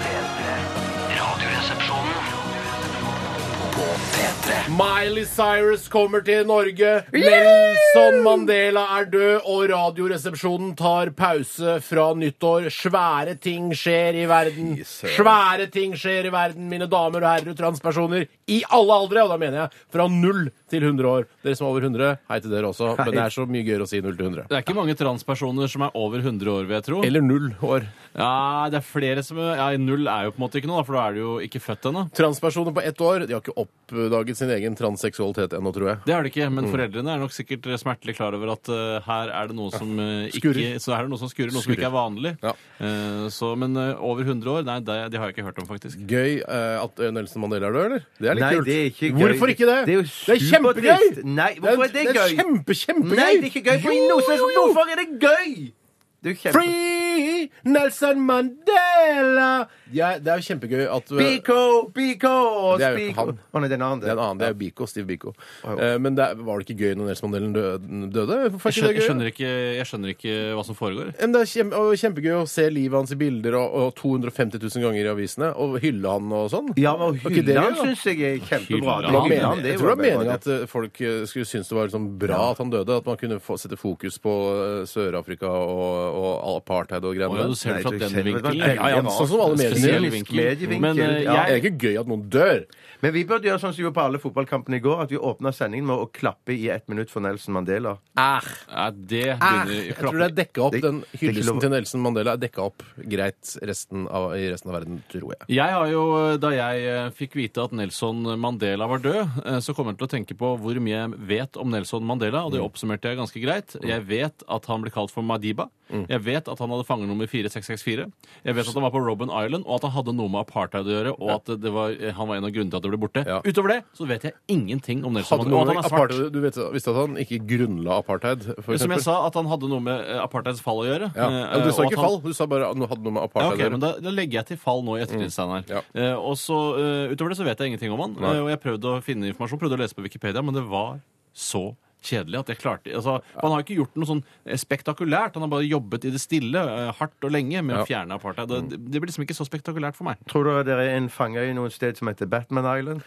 P3. Radioresepsjonen på P3. Miley Cyrus kommer til Norge. Nelson Mandela er død, og Radioresepsjonen tar pause fra nyttår. Svære ting skjer i verden. Svære ting skjer i verden, mine damer og herrer og transpersoner. I alle aldre, og da mener jeg fra null til 100 år. Dere som er over 100, hei til dere også. Men det er så mye gøyere å si null til 100. Det er ikke mange transpersoner som er over 100 år, vil jeg tro. Eller null år. Ja, det er flere som er, ja, Null er jo på en måte ikke noe, da, for da er du jo ikke født ennå. Transpersoner på ett år de har ikke oppdaget sin egen transseksualitet ennå, tror jeg. Det er det ikke, Mm. men foreldrene er nok sikkert smertelig klar over at eh, her er det noe som eh, ikke Skurrer. Så her er det noe som skurrer, noe som Skurrer. ikke er vanlig. Ja. Eh, så, men eh, over 100 år, nei, det, det har jeg ikke hørt om, faktisk. Gøy eh, at Nelson Mandela er død, eller? Det er litt Nei, kult. det er ikke gøy. Hvorfor ikke det? Det er jo kjempegøy! supertrist. Nei, hvorfor er det Det gøy? er kjempe, kjempegøy! Nei, det er ikke gøy. For i noe som helst- Jo, jo. Hvorfor er det gøy? Det er jo kjempe... Free Nelson Mandela! Ja, det er jo kjempegøy at Biko, Biko og Det er jo ikke Spiko. han. Å nei, det er en annen. det er en annen, det er jo Biko, Steve Biko. Eh, Men det, er- var det ikke gøy når Nelson Mandela dø- døde? Hvorfor er Jeg ikke skjønner, det gøy? jeg, skjønner ikke, jeg skjønner ikke hva som foregår. Men Det er kjem- og kjempegøy å se livet hans i bilder og, og 250 000 ganger i avisene, og hylle han og sånn. Ja, men å Var ikke hylle det gøy, han da? syns jeg er kjempebra. Hylle Det han. Jeg er hylle tror han, det er det jo var veldig bra, meningen det. at eh, folk eh, skulle synes det var liksom bra at han døde. At man kunne få, sette fokus på eh, Sør-Afrika og, og apartheid og Å, greiene ja, der. du ser det fra Nei, den du kjenner- vinkelen. det Ja, ja, sånn som alle medier. Spesiell gjør. vinkel. medievinkel, Men eh, ja. Det er jeg, ikke gøy at noen dør. Men vi burde gjøre sånn som vi gjorde på alle fotballkampene i går, at vi åpna sendingen med å klappe i ett minutt for Nelson Mandela. Nei, det Ah, begynner jeg klapp- tror det er dekka opp. Det- Den det er ikke hyllesten lov- til Nelson Mandela er dekka opp greit resten av, i resten av verden, tror jeg. Jeg har jo, Da jeg eh, fikk vite at Nelson Mandela var død, eh, så kom jeg til å tenke på hvor mye jeg vet om Nelson Mandela, og det Mm. oppsummerte jeg ganske greit. Jeg vet at han ble kalt for Madiba. Mm. Jeg vet at han hadde fangenummer 4664. Jeg vet at han var på Robben Island, og at han hadde noe med apartheid å gjøre, og at det var, eh, han var en av grunnene til at det ble borte. Ja. Utover det så vet jeg ingenting om Nelson Hadde noe Mandela. med Og at han er svart. apartheid- Du vet, visste at han ikke grunnla apartheid? For Som eksempel? jeg sa, at han hadde noe med eh, apartheids fall å gjøre. Ja. eh, Ja, du sa og at ikke han- fall, du sa bare at han hadde noe med Ja, apartheid ok, å gjøre. men da, da legger jeg til fall nå i ettertid, Steinar. Mm. Ja. Eh, og så, eh, utover det så vet jeg ingenting om han. Eh, og jeg prøvde å finne informasjon, prøvde å lese på Wikipedia, men det var så kjedelig at jeg klarte altså, Han har ikke gjort noe sånn eh, spektakulært. Han har bare jobbet i det stille, eh, hardt og lenge, med Ja. Mm. å fjerne apartheid. Det, det blir liksom ikke så spektakulært for meg. Tror du det er en fange i noe sted som heter Batman Island?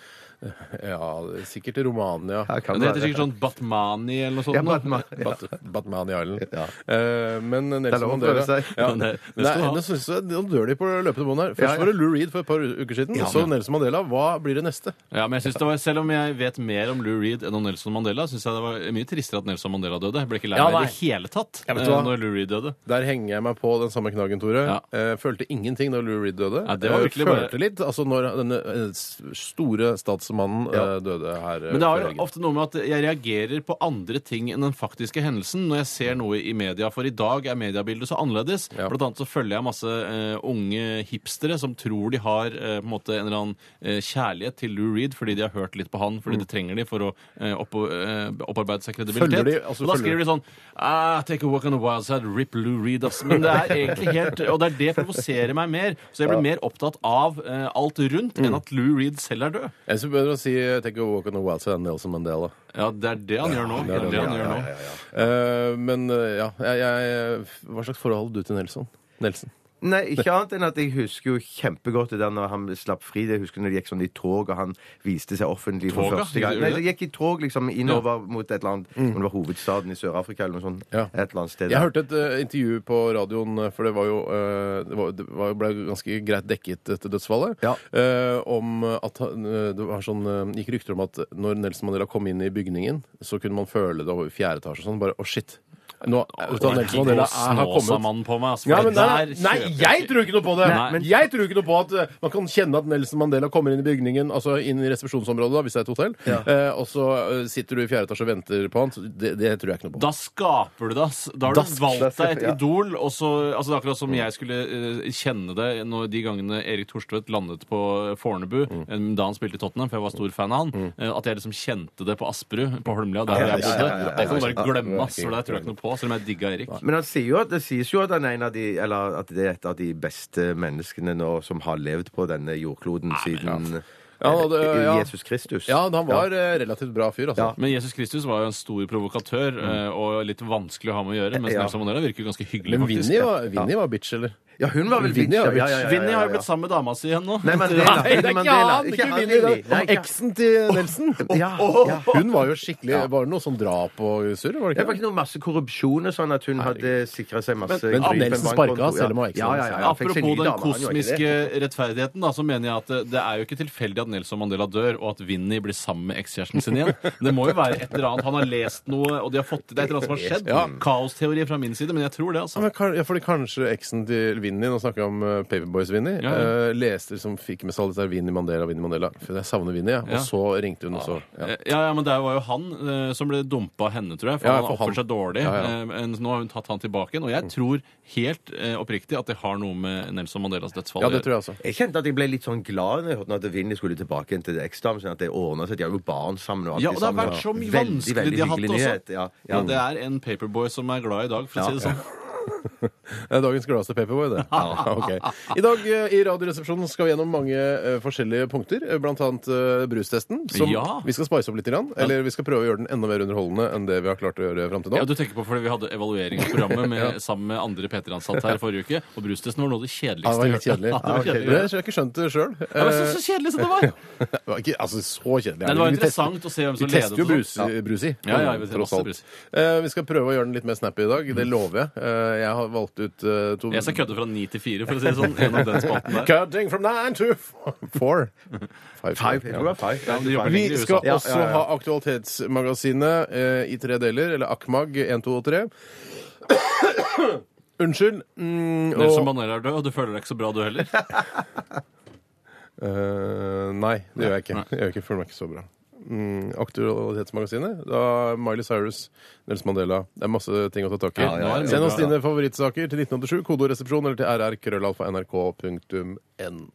Ja, det er sikkert i Romania. Her kan Men det heter være. sikkert sånn Batmani eller noe sånt. ja, nå. Batman, ja. Bat Batman i Island. Ja. Eh, men Det er Nelson lov å Mandela prøve seg. ja. Men det- det Nei, skal du ha. nå synes jeg- Nå dør de på løpende bånd her. Først Ja, ja. var det Lou Reed for et par u- uker siden, så Nelson Mandela. Hva blir det neste? Ja, men jeg synes det var, Selv om jeg vet mer om Lou Reed enn om Nelson Mandela, syns jeg det var mye tristere at Nelson Mandela døde. Jeg ble ikke lei Ja, meg i nei. det hele tatt Ja, vet eh, du hva? når Lou Reed døde. Der henger jeg meg på den samme knaggen, Tore. Ja. Eh, følte ingenting da Lou Reed døde. Ja, det var Eh, virkelig følte bare- litt, altså når denne eh, s- store statsmannen eh, døde her. eh, Men det før har jo helgen. ofte noe med at jeg reagerer på andre ting enn den faktiske hendelsen når jeg ser noe i media, for i dag er mediebildet så annerledes. Ja. Blant annet så følger jeg masse eh, unge hipstere som tror de har eh, på en måte en eller annen eh, kjærlighet til Lou Reed fordi de har hørt litt på han, fordi de trenger de for å eh, opp, eh, opparbeide seg Mm. Følger kredibilitet. de- altså, og da følger skriver de sånn ah, Take a walk on the wild side, rip Lou Reed, ass. Men det er egentlig helt Og det er det provoserer meg mer. Så jeg blir mer opptatt av eh, alt rundt Mm. enn at Lou Reed selv er død. Jeg synes bedre å si eh, 'Take a walk on the wild side' enn Nelson Mandela. Ja, det er det han gjør nå. det er det det han han gjør. gjør nå. Eh, men eh, ja, jeg, jeg, hva slags forhold hadde du til Nelson? Nelson? Nei, ikke annet enn at jeg husker jo kjempegodt det der når han slapp fri. Det husker jeg når det gikk sånn i tog, og han viste seg offentlig for Toga? første gang. Gjorde Nei, du det? det gikk i tog liksom innover mot et eller annet om det var hovedstaden i Sør-Afrika eller noe sånt. Ja. Et eller annet sted. Jeg hørte et eh, intervju på radioen, eh, for det var jo eh, Det, var, det var, ble ganske greit dekket etter dødsfallet. Ja. eh, om at han, eh, det var sånn, eh, gikk rykter om at når Nelson Mandela kom inn i bygningen, så kunne man føle det over fjerde etasje og sånn. Bare å, shit! Nå, vet du hva, Nelson Mandela er, har kommet. Snåsamannen på meg, altså. Ja, for men det nei, der nei, kjøper jeg tror ikke noe på det! Nei, men- jeg tror ikke noe på at eh, Man kan kjenne at Nelson Mandela kommer inn i bygningen, altså inn i resepsjonsområdet, da, hvis det er et hotell, eh, og så eh, sitter du i fjerde etasje og venter på han. Så Det, det tror jeg ikke noe på. Da skaper du det, ass. Da har Da du sk- valgt deg et ja. idol. Og så, altså det er akkurat som jeg skulle eh, kjenne det når de gangene Erik Thorstvedt landet på Fornebu eh, da han spilte i Tottenham, for jeg var stor fan av han. eh, At jeg liksom kjente det på Asperud, på Holmlia, der jeg ja, bodde. ja, ja, ja, ja. Det kan du bare glemme, Ja, ass. For det tror jeg ikke noe på, selv om jeg digga Erik. Men han sier jo at, det sies jo at han er en av de Eller at det er et av de beste menneskene nå som har levd på denne jordkloden siden eh, Ja, han hadde, ja. Jesus Kristus. Ja, han var eh, relativt bra fyr, altså. Men Jesus Kristus var jo en stor provokatør eh, og litt vanskelig å ha med å gjøre. Mens Ja. Nelson Mandela virker jo ganske hyggelig, Men faktisk. Vinni var, Vinni var bitch, eller? Ja, hun var vel Vinny, bitch, ja, ja, ja, ja, ja, ja, Vinni har ja. jo blitt sammen med dama si igjen nå. Nei, Mandela. Nei, Nei, det er ikke Mandela, han, ikke han, Vinny. Vinny. Nei, ikke han. Eksen til Nelson. Ja, ja. Hun var jo skikkelig Var det noe sånn drap og surr? Var det ikke Det var det? ikke noe masse korrupsjon og sånn at hun hadde sikra seg masse Men- men kryp i en Nelson bankkonto, sparka, selv om han var ja, ja, ja, ja, fikk Apropos den seg ny dame, han gjorde ikke kosmiske det. rettferdigheten, da, så mener jeg at det, det er jo ikke tilfeldig at Nelson Mandela dør, og at Vinni blir sammen med ekskjæresten sin igjen. Det må jo være et eller annet. Han har lest noe, og de har fått, det er et eller annet som har skjedd. Ja. Kaosteori fra min side, men jeg tror det, Ja, altså. men kan- ja, fordi kanskje eksen til Vinni, nå snakker vi om eh, Paperboys-Vinni, Ja, ja. eh, leste som fikk med seg alle disse her Vinni Mandela, Vinni Mandela. For jeg savner Vinni, ja. Ja. Og så ringte hun, og så ja. Eh, Ja, ja, men det var jo han eh, som ble dumpa av henne, tror jeg. For Ja, han for har oppført han. seg dårlig. Ja, ja. Eh, men nå har hun tatt han tilbake igjen. Og Mm. jeg tror helt eh, oppriktig at det har noe med Nelson Mandelas dødsfall ja, det tror jeg også. Jeg kjente at jeg ble litt sånn glad når jeg hørte at Vinni skulle tilbake igjen til eksdamen sin. At det ordna seg. De har jo barn sammen. og alt Ja, det og det har sammen. vært så mye Veldig, vanskelig veldig de har hatt hyggelig også. nyhet, Ja, ja. Ja, det er en paperboy som er glad i dag, for å si det sånn. Det er dagens gladeste paperboy, det. Ja, ok. I dag eh, i Radioresepsjonen skal vi gjennom mange eh, forskjellige punkter, eh, blant annet eh, brustesten, som Ja. vi skal spice opp litt. Grann, Eller vi skal prøve å gjøre den enda mer underholdende enn det vi har klart å gjøre fram til nå. Ja, du tenker på fordi Vi hadde evaluering av programmet med, sammen med andre P3-ansatte her forrige uke. Og brustesten var noe av det Ja, det kjedeligste var jeg litt hørte. kjedelig. Ja, det var kjedelig. Det har jeg ikke skjønt det sjøl. Det var så, så kjedelig som det var! Ikke altså, så kjedelig. Men det var Vi test- interessant å se hvem Vi som tester ledet. jo og sånn. brus, brus i, Ja, ja, vi tester tross masse alt. brus. Eh, vi skal prøve å gjøre den litt mer snappy i dag. Det lover jeg. Eh, jeg har valgt ut eh, to Jeg skal kødde fra ni til fire, for å si det sånn. Gjennom den spalten der. Cutting from nine to four. Five. Five, jeg tror det var five. Ja, de jobber Vi lenger i skal USA. Ja, også ja, ja. ha Aktualitetsmagasinet eh, i tre deler, eller AKMAG 1, 2 og 3. Unnskyld. Mm, Nelson og, Mandela er død, og du føler deg ikke så bra, du heller. eh, nei, det gjør jeg ikke. Jeg gjør ikke føler meg ikke så bra. Mm, Aktualitetsmagasinet. Da Miley Cyrus, Nels Mandela. Det er masse ting å ta tak i. Ja, ja, ja. Send oss dine favorittsaker til 1987, kodoresepsjon eller til rrkrøllalfa.nrk.no.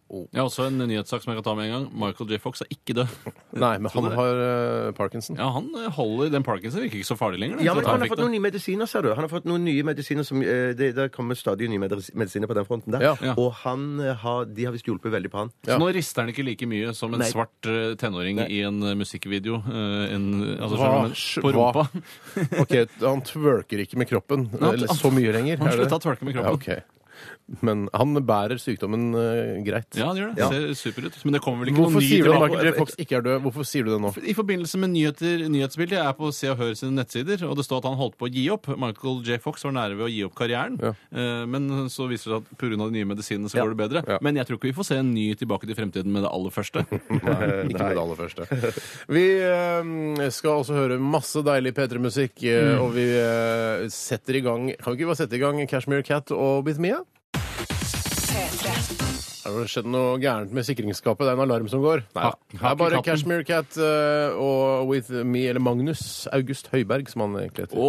Jeg har også en nyhetssak som jeg kan ta med en gang. Michael J. Fox er ikke død. Nei, men han har eh, Parkinson. Ja, han eh, holder den parkinson. Virker ikke så farlig lenger. Ja, men etter at han har fikk fått den. noen nye medisiner, ser du. Han har fått noen nye medisiner som, eh, det, det kommer stadig nye medis- medisiner på den fronten der. Ja. Ja. Og han eh, har, de har visst hjulpet veldig på han. Så nå rister han ikke like mye som en Nei. svart eh, tenåring i en eh, musikkvideo. eh, En, altså, Hva? skjønner du, men på Hva? rumpa. Ok, Han twerker ikke med kroppen han- eller så mye lenger. Han er det? slutta å twerke med kroppen. Ja, ok. Men han bærer sykdommen eh, greit. Ja, han gjør det. Ja. Ser super ut. Men det kommer vel ikke Hvorfor noe ny sier du at tilbake? Michael J. Fox ikke er død? Hvorfor sier du det nå? I forbindelse med nyheter, nyhetsbildet Jeg er på Se og Hør sine nettsider, og det står at han holdt på å gi opp. Michael J. Fox var nære ved å gi opp karrieren, Ja. eh, men så viser det seg at pga. de nye medisinene så Ja. går det bedre. Ja. Men jeg tror ikke vi får se en ny Tilbake til fremtiden med det aller første. Ikke med det aller første. Vi eh, skal også høre masse deilig P3-musikk, eh, Mm. og vi eh, setter i gang Kan vi ikke bare sette i gang Cashmere Cat og Bit Mia? Har det skjedd noe gærent med sikringsskapet? Det er en alarm som går. Nei, Hakk- det hakk er i bare katten. Cashmere Cat eh, og With Me, eller Magnus August Høiberg, som han egentlig heter.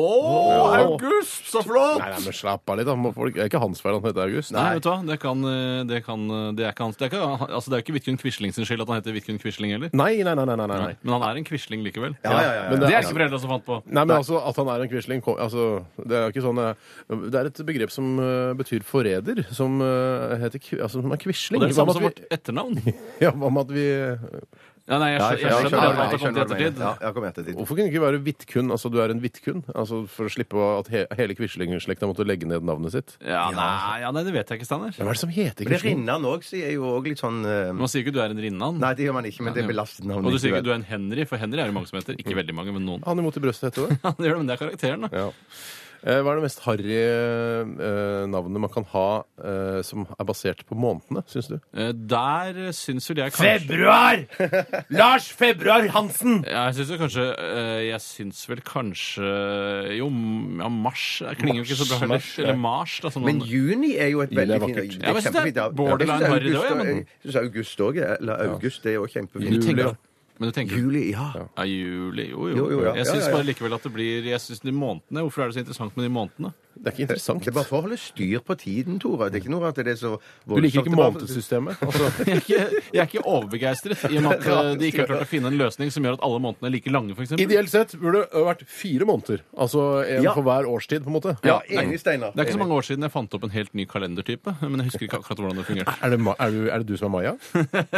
August, så flott! Nei, nei, men slapp av litt, da. Må folk- Det er ikke hans feil at han heter August. Nei, vet du hva? Det, kan, eh, det, kan, eh, det er ikke hans Det er ikke, altså, det er jo ikke Vidkun Quisling sin skyld at han heter Vidkun Quisling heller. Nei, nei, nei, nei, nei, nei. Men han er en Quisling likevel. Ja, ja, ja, ja. Men Det det er er ikke foreldra som fant på. Nei, men altså At han er en quisling kom- altså, Det er jo ikke sånn eh, Det er et begrep som eh, betyr forræder, som, eh, heter kv- altså, som er Og quisling. det er det Hva samme som med at vårt etternavn. vi- ja, hva med at vi Ja, nei, jeg, skjø- jeg skjønner at Ja, skjønner hva det har kommet i du mener. ettertid. Ja, jeg kom i ettertid. Hvorfor kunne det ikke være Vidkun? Altså, du er en Vidkun. Altså, for å slippe at he hele quislingslekta måtte legge ned navnet sitt. Ja, nei, ja, nei, det vet jeg ikke, Men Steinar. Hva er det som heter Men det quisling? Rinnan òg er jo òg litt sånn eh, Man sier ikke du er en Rinnan. Nei, det gjør man ikke, men det er belastet navn. Og du sier ikke du er en Henry, for Henry er det mange som heter. Ikke veldig mange, men noen. Han imot i brøstet heter det. Ja, det gjør det, men det er karakteren, da. Ja. Eh, Hva er det mest harry eh, navnet man kan ha eh, som er basert på månedene, syns du? Eh, Der eh, syns vel jeg kanskje Februar! Lars Februar Hansen! jeg syns jo kanskje eh, Jeg syns vel kanskje Jo, m- ja, mars eh, klinger jo ikke så bra heller. Mars, Eller Mars, da. Som Men noen- juni er jo et Juli er veldig fint vakkert. det er Ja, men jeg synes det er kjempefint, ja. borderline Jeg synes harry det også, ja, men- august- Jeg syns august òg Eller august det er jo kjempefint. Du tenker- Men du tenker Juli, ja. Ja, juli, jo, jo. Jo, jo, ja. Jeg Ja, syns ja, ja. bare likevel at det blir Jeg synes de månedene, Hvorfor er det så interessant med de månedene? Det er ikke interessant. Det er bare for å holde styr på tiden, Tore. Det er ikke noe at det er så Du liker voldsomt. ikke månedssystemet? Altså, Jeg er ikke, jeg er ikke overbegeistret i og med at eh, de ikke har klart å finne en løsning som gjør at alle månedene er like lange, f.eks. Ideelt sett burde det vært fire måneder. Altså en Ja. for hver årstid, på en måte. Ja, enig, Steinar. Det er ikke så mange år siden jeg fant opp en helt ny kalendertype, men jeg husker ikke akkurat hvordan det fungerte. Er det, Ma- er, du, er det du som er Maja?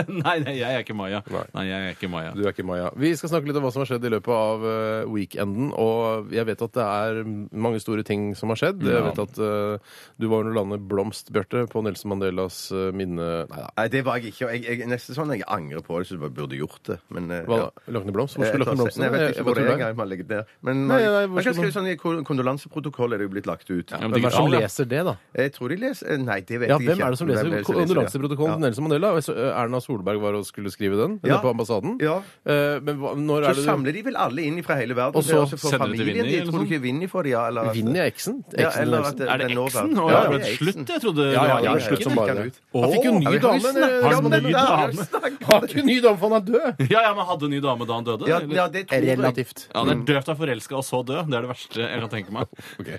Nei, nei, jeg er ikke Maya. Nei. Nei, jeg er ikke Maya. Du er ikke Maja. Vi skal snakke litt om hva som har skjedd i løpet av eh, weekenden. Og jeg vet at det er mange store ting som har skjedd. Jeg vet at eh, du var under landet Blomst, Bjarte, på Nelson Mandelas eh, minne... Nei da. Nei, det var jeg ikke. og Jeg, jeg, nesten sånn jeg angrer på det, så jeg burde gjort det. Men, eh, Hva ja. da? Løkne Blomst? Hvor Jeg skulle tar- Løkne Blomst? Nei, Jeg vet ikke hvor det er Tullberg. engang. man legger det. Men Nei, nei, hvor man kan skal skrive sånn i kon- kondolanseprotokoll er det jo blitt lagt men ut. Hvem er det som Digital, ja. leser det, da? Jeg tror de leser eh, Nei, det vet Ja, jeg Hvem ikke. er det som Hvem leser det kondolanseprotokollen til ja. Nelson Mandela? Jeg så, eh, Erna Solberg var og skulle skrive den Ja. nede på ambassaden. Ja. Eh, Men hva- når er Så det du samler de vel alle inn fra hele verden. Og så Det er også for sender du til familien Vinni, din. Tror du eller ikke Vinni får det, ja? Eller at- Vinner jeg eksen? sånn? Eksen Ja, eller Nelson? at det- Er det den nå- Eksen? Å, Ja, ja, det er men Eksen. slutt, jeg trodde Ja, ja, det ja, ja, slutt var Eksen. som bare Gikk han ut? Han fikk jo ny Å, ja, vi dame. snakker Han om ny det, da. dame. Vi snakker om har det. ikke ny dame, for han er død! Ja, ja, men hadde ny dame da han døde? Ja, eller? ja, det tror jeg. Ja, det er døvt å være forelska og så dø. Det er det verste jeg kan tenke meg. Ok.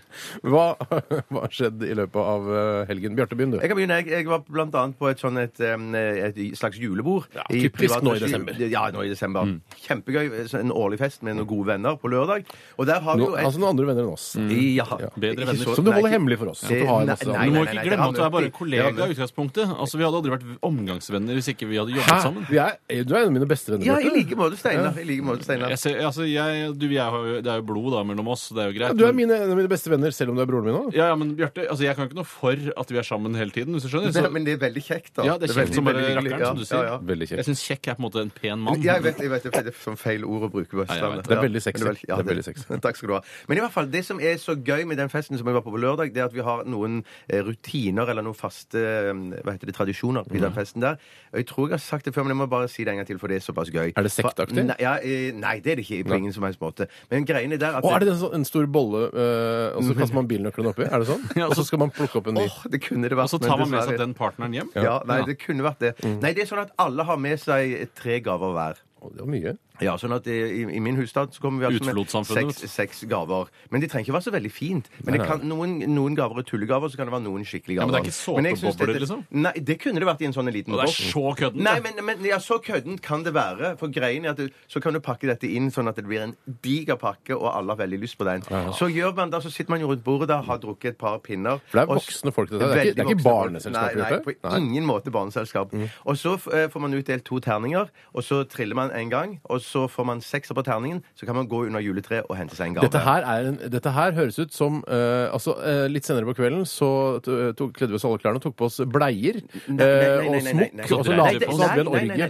Hva hva har skjedd i løpet av eh, helgen? Bjarte, begynn, du. Jeg kan begynne. Jeg, jeg var blant annet på et, sånn et, em, et slags julebord. i typisk privat nå i regi. desember. Mm. Ja, nå i desember. Kjempegøy. så En årlig fest med noen gode venner på lørdag. Og der har vi No, jo et altså noen andre venner enn oss. Ja. Bedre Ikke venner. så- Som du holder nei, hemmelig for oss. at det- Du har nei, masse nei, Du andre. må ikke nei, det glemme at du er bare rammer- det kollega rammer. i utgangspunktet. Altså, Vi hadde aldri vært omgangsvenner hvis ikke vi hadde Hæ? jobbet sammen. Vi er, du er en av mine beste venner, Ja, i Bjarte. like måte, Steinar. I like måte, Steinar. Jeg ser, altså, jeg, du, jeg har jo, det er jo blod da mellom oss, det er jo greit. Ja, Du er men- mine, en av mine beste venner, selv om du er broren min òg. ja, ja, men Bjarte, altså, jeg kan jo ikke noe for at vi er sammen hele tiden, hvis du skjønner. Men, Så, men det er veldig kjekt, da. ja, det er veldig, kjekt som bare veldig hyggelig. rakkeren, som du sier. Ja, ja. Veldig Jeg kjekt. syns kjekk er på en måte en pen mann. Ja, jeg vet, jeg vet det, for det er sånn feil ord å bruke på jeg vet Østlandet. det. Det er Ja. veldig sexy. Men vel- ja, Det er det- veldig sexy. Takk skal du ha. Men i hvert fall, det som er så gøy med den festen som jeg var på på lørdag, det er at vi har noen eh, rutiner eller noen faste eh, hva heter det, tradisjoner i Mm. den festen der. Og Jeg tror jeg har sagt det før, men jeg må bare si det en gang til, for det er såpass gøy. Er det sektaktig? For- Nei, ja, eh, nei, det er det ikke på ingen som helst måte. Men greiene der at Å, er det en, sånn, en stor bolle, eh, og så kaster man bilnøklene oppi? Er det sånn? Ja, Og så skal man plukke opp en ny? Åh, det kunne det vært. Og så men tar man med seg dessverre- den partneren hjem. Ja, nei, det kunne vært det. Nei, det er sånn at alle har med seg tre gaver hver. Å, Det var mye. Ja, sånn at i, i min husstand så kommer vi altså Utflodssamfunnet, med seks, seks gaver. Men det trenger ikke være så veldig fint. Men det kan, noen, noen gaver er tullegaver, så kan det være noen skikkelige Ja, men gaver. det er ikke jeg syns såpebobler, dette- liksom? Nei, det kunne det vært i en sånn liten Og det er boks. så køddent. Nei, men, men ja, så køddent kan det være. For greien er at du, så kan du pakke dette inn sånn at det blir en diger pakke, og alle har veldig lyst på den. Så gjør man det, så sitter man jo rundt bordet der, har drukket et par pinner. For det er og s- voksne folk, dette her. Det er ikke- det er ikke Veldig voksne folk. barneselskap, Nei, Bjarte. nei, på Nei. ingen måte barneselskap. Mm. Og så eh, får man utdelt to terninger, og så triller man en gang, og så får man sekser på terningen, så kan man gå under juletreet og hente seg en gave. Dette her, er en, dette her høres ut som eh, altså, eh, Litt senere på kvelden så t- tok, kledde vi oss alle klærne og tok på oss bleier eh, og smokk. Og altså så la vi på sånn oss hadde vi en orgie.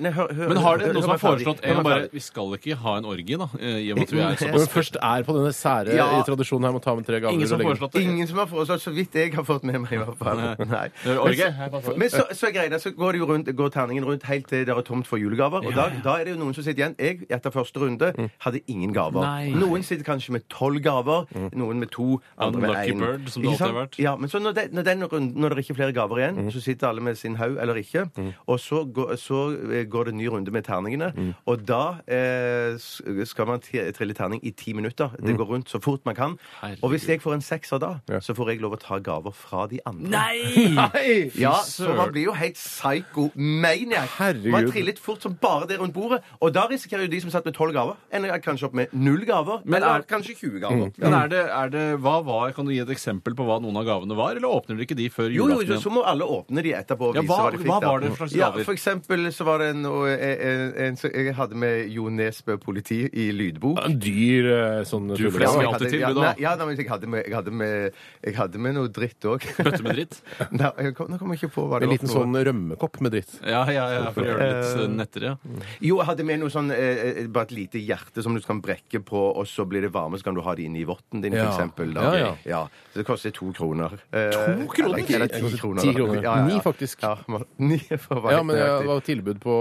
Men har det noen som har foreslått en gang bare Vi skal ikke ha en orgie, da, eh, i og med at vi er Når vi såpass først er på denne sære Ja. tradisjonen her med å ta med tre gaver Ingen som og har legge- foreslått det? Ingen som har foreslått, så vidt jeg har fått med meg i hvert fall. Nei. Det er orgie. Her passer det. Men så, så er greia, så går, det jo rundt, går terningen rundt helt til det er tomt for julegaver. Og da, da er det jo noen som sitter igjen. Jeg, etter første runde, hadde ingen gaver. Mm. Nei. Mm. Noen sitter kanskje med tolv gaver, noen med to, andre med Unlucky én. bird, som det Ikke alltid sant? har vært. Mm. Ja, men så når, det, når, den runden, når det ikke er flere gaver igjen, så sitter alle med sin haug eller ikke. Og så, går- så eh, går det en ny runde med terningene. Mm. Og da eh, s- skal man t- trille terning i ti minutter. Det går rundt så fort man kan. Mm. Herregud. Og hvis jeg får en sekser da, så får jeg lov å ta gaver fra de andre. Nei! Hei! Ja, så søren. man blir jo helt psycho-maniac. Herregud. Man trillet fort som bare det rundt bordet. Og da risikerer jo de som satt med tolv gaver, ender kanskje opp med null gaver. Men eller er- Mm. kanskje 20 gaver. Men er det, er det, hva var, Kan du gi et eksempel på hva noen av gavene var, eller åpner dere ikke de før Jo, jo, julaften? jo, så igjen? må alle åpne de etterpå og Ja, vise hva- hva, de fikk. hva da. var det for slags ja, gaver? for eksempel så var det en, og, en, en, en så Jeg hadde med Jo Nesbø politi i lydbok. En dyr eh, sånn Du, for det Ja, som vi men jeg alltid hadde- til, ja, vil du ha? nei, ja, nei, men jeg hadde med, jeg hadde med, jeg hadde med noe dritt òg. Bøtte med dritt? Nå kommer jeg ikke på hva det En var. liten for noe. sånn rømmekopp med dritt. Ja, ja, ja, for å gjøre det litt eh, nettere. ja. Jo, jeg hadde med noe sånn, eh, eh, bare et lite hjerte som du kan brekke på, og så blir det varme, så kan du ha det inni votten din, Ja. for eksempel. Da. Ja, ja. Så det koster to kroner. Eh, kroner? Eller, eller ti Det koster kroner. ti da. kroner. Ni, faktisk. Ja, man- ni for å være Ja, helt men det nøyaktig. var tilbud på,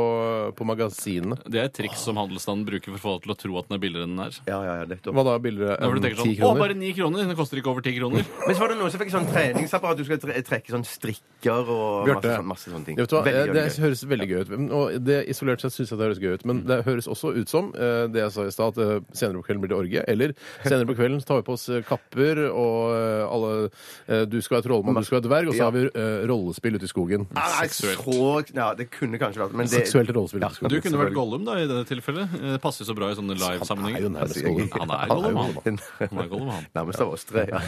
på magasinene. Det er et triks som handelsstanden bruker for å få deg til å tro at den er billigere enn den er. ja, ja, ja, nettopp. Hva da, billigere Da får du enn tenke Mm, ti sånn, Å, kroner? bare ni kroner! Den koster ikke over ti kroner. Men så var det noen som fikk sånn treningsapparat. Du skal tre trekke sånn strikker og masse, Bjarte, sånn, masse sånne ting. Ja, vet du hva, Eh, Veldig det gøy. høres veldig gøy ut. Men- Og det isolert sett syns jeg det høres gøy ut, men det høres også så ut som eh, det jeg sa i stad, at eh, senere på kvelden blir det orgie. Eller senere på kvelden så tar vi på oss eh, kapper og eh, alle eh, Du skal være trollmann, du skal være dverg, og så Ja. har vi eh, rollespill ute i skogen. Nei, så Ja, det kunne kanskje vært men Ah, det, Seksuelt rollespill ute i skogen. Du kunne vært Gollum da, i dette tilfellet. Eh, Det passer så bra i sånne live-sammenhenger. jo nærmest Gollum. Han er Gollum, han. Han er Gollum, han. Nærmest av oss tre, ja.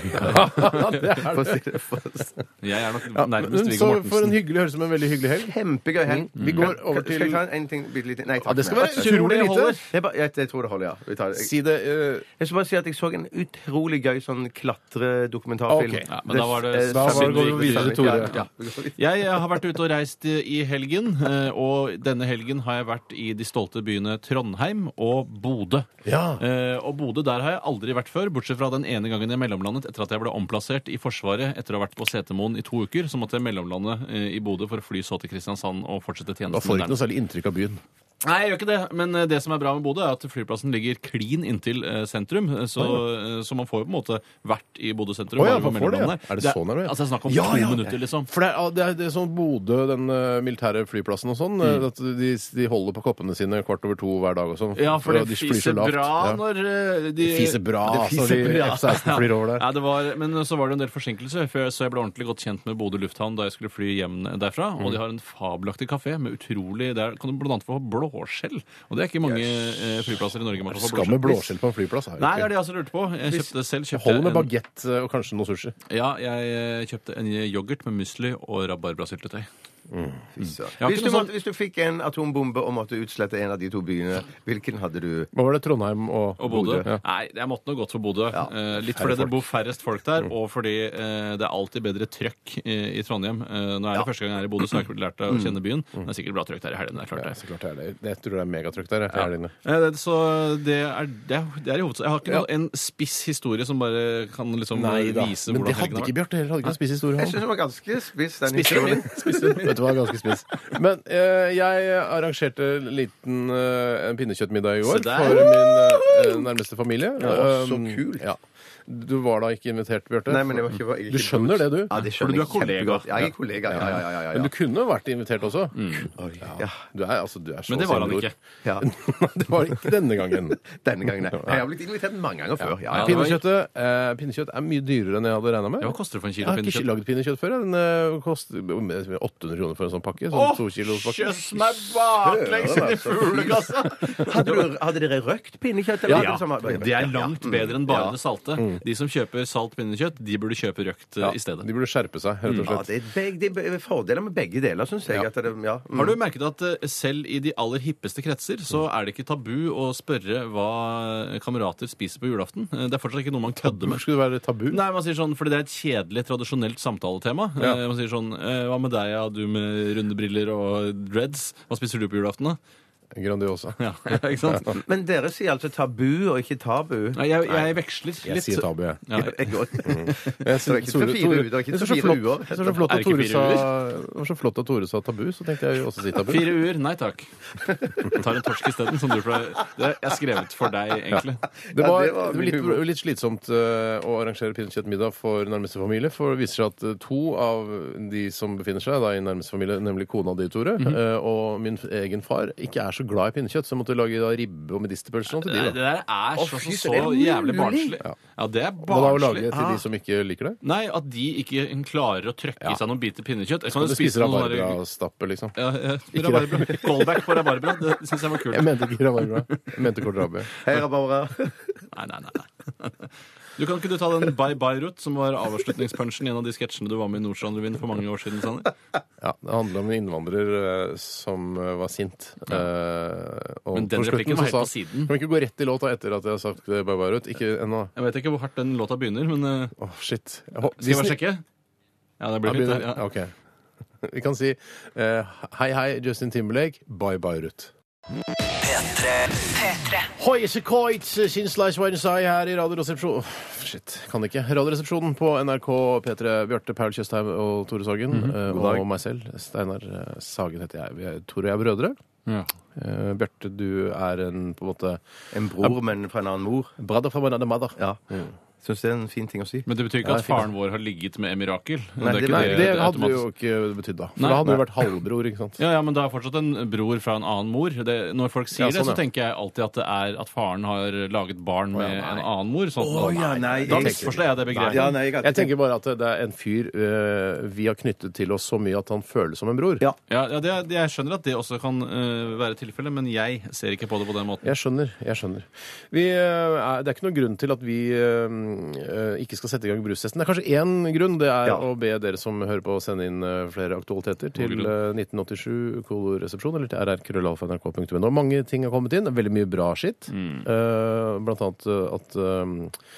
det er For å si det først. Jeg er nok Ja, nærmest men Viggo så for en Mortensen. hyggelig høres ut som en veldig hyggelig helg. Kjempegøy helg. Mm. Vi går over Skal jeg til ta en ting bitte lite? Nei, Ja, takk. det skal være tror utrolig det lite. holder. Jeg, bare- jeg, jeg tror det holder, ja. Vi tar det. Si det eh, Jeg skal bare si at jeg så en utrolig gøy sånn klatre-dokumentarfilm. Ok. Ja, men da var det- eh, Da var det- Summit går vi Week. videre til Tore. Ja, ja. Jeg har vært ute og reist i i helgen, eh, og denne helgen har jeg vært i de stolte byene Trondheim og Bodø. Ja. Eh, Og Bodø der har jeg aldri vært før, bortsett fra den ene gangen jeg mellomlandet etter at jeg ble omplassert i Forsvaret etter å ha vært på Setermoen i to uker. Så måtte jeg mellomlande eh, i Bodø for å fly så til Kristiansand og fortsette tjenesten. Da får du der. ikke noe særlig inntrykk av byen. Nei, jeg gjør ikke det. Men eh, det som er bra med Bodø, er at flyplassen ligger klin inntil eh, sentrum. eh, Så, eh, så man får jo på en måte vært i Bodø sentrum. Å ja, man bare ved får det, ja. mellomlandet. Er det så nærme? Altså, det er snakk om Ja, to ja. minutter, liksom. For det er, det er, det er sånn Bodø, den eh, militære flyplassen og sånn, eh, at de, de holder på koppene sine kvart over to hver dag og sånn. Ja, for det de flyr så fiser lavt. bra Ja. når eh, de Det fiser bra, Det altså, de bra. F-16 flyr over der. Ja, det var, men eh, så var det en del forsinkelser, for jeg- så jeg ble ordentlig godt kjent med Bodø lufthavn da jeg skulle fly hjem eh, derfra. Og Mm. de har en fabelaktig kafé med utrolig Der kan du blant annet få blåskjell. Og det er ikke mange eh, flyplasser i Norge man kan få Skal med blåskjell. blåskjell på en flyplass? er jo Nei, det ikke- er det jeg også lurte på. Jeg kjøpte selv kjøpte Holder med en- bagett og kanskje noe sushi. Ja, jeg eh, kjøpte en yoghurt med musli og rabarbrasyltetøy. Fy søren. har Mm. Hvis ikke du, noe sånn- måtte, hvis du fikk en atombombe og måtte utslette en av de to byene, hvilken hadde du? Hva var det? Trondheim og, Og Bodø? Ja. Nei, jeg måtte nå gått for Bodø. Eh, litt fordi det bor færrest folk der, Mm. og fordi eh, det er alltid bedre trøkk i, i Trondheim. Eh, nå er det første gang jeg er i Bodø, så jeg har ikke lært å kjenne byen. Men det er sikkert bra trøkk der i helgene. det er Mm. klart Ja, det. så klart det er det. Jeg tror det er megatrykk der. jeg, for helgene. Eh, det- Så det er, det er, det er i hovedsak. Jeg har ikke noe, en spiss historie som bare kan liksom Nei da. vise Men hvordan det hadde ikke Bjarte heller. Hadde ikke spist historie. Jeg syns den var ganske spiss, den Spissen historien. min. Vet du hva, ganske spiss. Men eh, jeg arrangerte en liten eh, en pinnekjøttmiddag i går Se der. for min eh, nærmeste familie. Ja, så Um, kult. Ja. Du var da ikke invitert, Bjarte. Nei, men jeg var ikke, var ikke Du skjønner det, du? Ja, Fordi det skjønner du er jeg kjempegodt. kollega. Ja, jeg er kollega. Ja, ja, ja. ja, Men ja. du kunne vært invitert også. Oi, ja. Mm. Du er, altså, du er så Men det var han selvbror. ikke. ja. det var ikke denne gangen. Denne gangen, nei. Jeg har blitt invitert mange ganger før. Ja, Ja, ja. det var- Pinnekjøttet, eh, pinnekjøtt er mye dyrere enn jeg hadde regna med. Ja, Hva koster det for en Jeg kilo har ikke pinnekjøtt? lagd pinnekjøtt før. jeg. Den eh, koster 800 kroner for en sånn pakke. Sånn to kilos altså. pakke. meg baklengs inn i fuglekassa! Hadde, du- hadde dere røkt pinnekjøtt? eller Ja, noe sånt? det er langt bedre enn bare Ja. det salte. Mm. De som kjøper salt pinnekjøtt, de burde kjøpe røkt eh, i stedet. De burde skjerpe seg, rett og Ja, slett. det er, begge, det er fordeler med begge deler, syns jeg. At det, ja. Mm. Har du merket at eh, selv i de aller hippeste kretser så er det ikke tabu å spørre hva kamerater spiser på julaften? Eh, Det er fortsatt ikke noe man kødder Hvorfor med. skulle det være tabu? Nei, man sier sånn, fordi det er et kjedelig, tradisjonelt samtaletema. Ja. Eh, Man sier sånn eh, Hva med deg, ja, du med runde briller og dreads? Hva spiser du på julaften, da? Grandiosa. Ja, ikke sant? Men dere sier altså tabu og ikke tabu. Nei, jeg, jeg veksler litt. Jeg sier tabu, jeg. Ja, Jeg går- Jeg synes Det er ikke så Tore- fire Tore- uer, det er ikke Jeg synes så det fire flott- uer. jeg synes det flott Er at det ikke Tore fire sa- det var så flott at Tore sa tabu, så tenkte jeg jo også si tabu. Fire uer? Nei takk. Tar en torsk isteden, som du pleier. Det er skrevet for deg, egentlig. Det var, Ja, det det var var mye litt, humor. litt slitsomt eh, å arrangere pinnekjøttmiddag for nærmeste familie, for det viser seg at eh, to av de som befinner seg da, i nærmeste familie, nemlig kona di, Tore, eh, og min f- egen far, ikke er så glad i pinnekjøtt, så jeg måtte lage da, ribbe og medisterpølse og sånn til Det, de. det da. der er så, Å, fy så, så søren, det er jævlig mulig. barnslig. Ja, det er Hva da å lage barnslig. Ah. til de som ikke liker det? Nei, at de ikke klarer å trøkke i seg noen biter pinnekjøtt. Eller kan Du du spiser spise noen der- rabarbrastappe, liksom. ja, ja, rabarbra. Callback på rabarbra. Det syns jeg var kult. Jeg mente ikke rabarbra. Jeg mente kålrabi. Hei, Rabarbra. Nei, nei, nei. nei. Du Kan ikke du ta den Bye Bye Ruth, som var avslutningspunchen i en av de sketsjene du var med i Nordstrand-revyen for mange år siden? Sanne? Ja, det handla om en innvandrer eh, som eh, var sint. Eh, og Men den på slutten replikken så var helt sa på han, siden. Kan vi ikke gå rett i låta etter at jeg har sagt det, Barbara Ruth? Ikke ennå. Jeg vet ikke hvor hardt den låta begynner, men eh, Åh, shit. Jeg hå- skal jeg bare Disney- sjekke? Ja, det Ja, blir fint. begynner- det, Ja. Ok. Vi kan si eh, hei, hei, Justin Timberlake. Bye, bye, Ruth. Hoi, så koit, sinsleis verdensai her i Radioresepsjonen Shit, kan ikke. Radioresepsjonen på NRK P3. Bjarte Paul Tjøstheim og Tore Sagen. Mhm, eh, God dag. Og meg selv. Steinar eh, Sagen heter jeg. Vi er, Tore og jeg er brødre. Ja. Eh, Bjarte, du er en på en måte En bror, men fra en annen mor. brother from another mother. Ja. Syns det er en fin ting å si. Men det betyr ikke at faren vår har ligget med Emirakel. det Nei, er det- ikke Nei, det, det det er hadde jo automatisk. ikke betydd da. For Nei. da hadde du vært halvbror, ikke sant. Ja, ja, men det er fortsatt en bror fra en annen mor. Det, når folk Ja, sier sånn, det, så ja. tenker jeg alltid at det er at faren har laget barn med en annen mor. Sånn, Å, ja, nei, da jeg- misforstår jeg det begrepet. Ja, nei, Jeg tenker bare at det er en fyr eh, vi har knyttet til oss så mye at han føles som en bror. Ja. Ja, ja, det, det- jeg skjønner at det også kan eh, være tilfellet, men jeg ser ikke på det på den måten. Jeg skjønner. jeg skjønner. Vi, eh, er, det er ikke noen grunn til at vi eh, eh, ikke skal sette i gang brustesten. Det er kanskje én grunn. Det er Ja. å be dere som hører på, å sende inn eh, flere aktualiteter til eh, 1987 koloresepsjon eller til rrkrøllalfa.nrk.no. Mange ting har kommet inn. det er Veldig mye bra skitt. Eh, blant annet eh, at eh,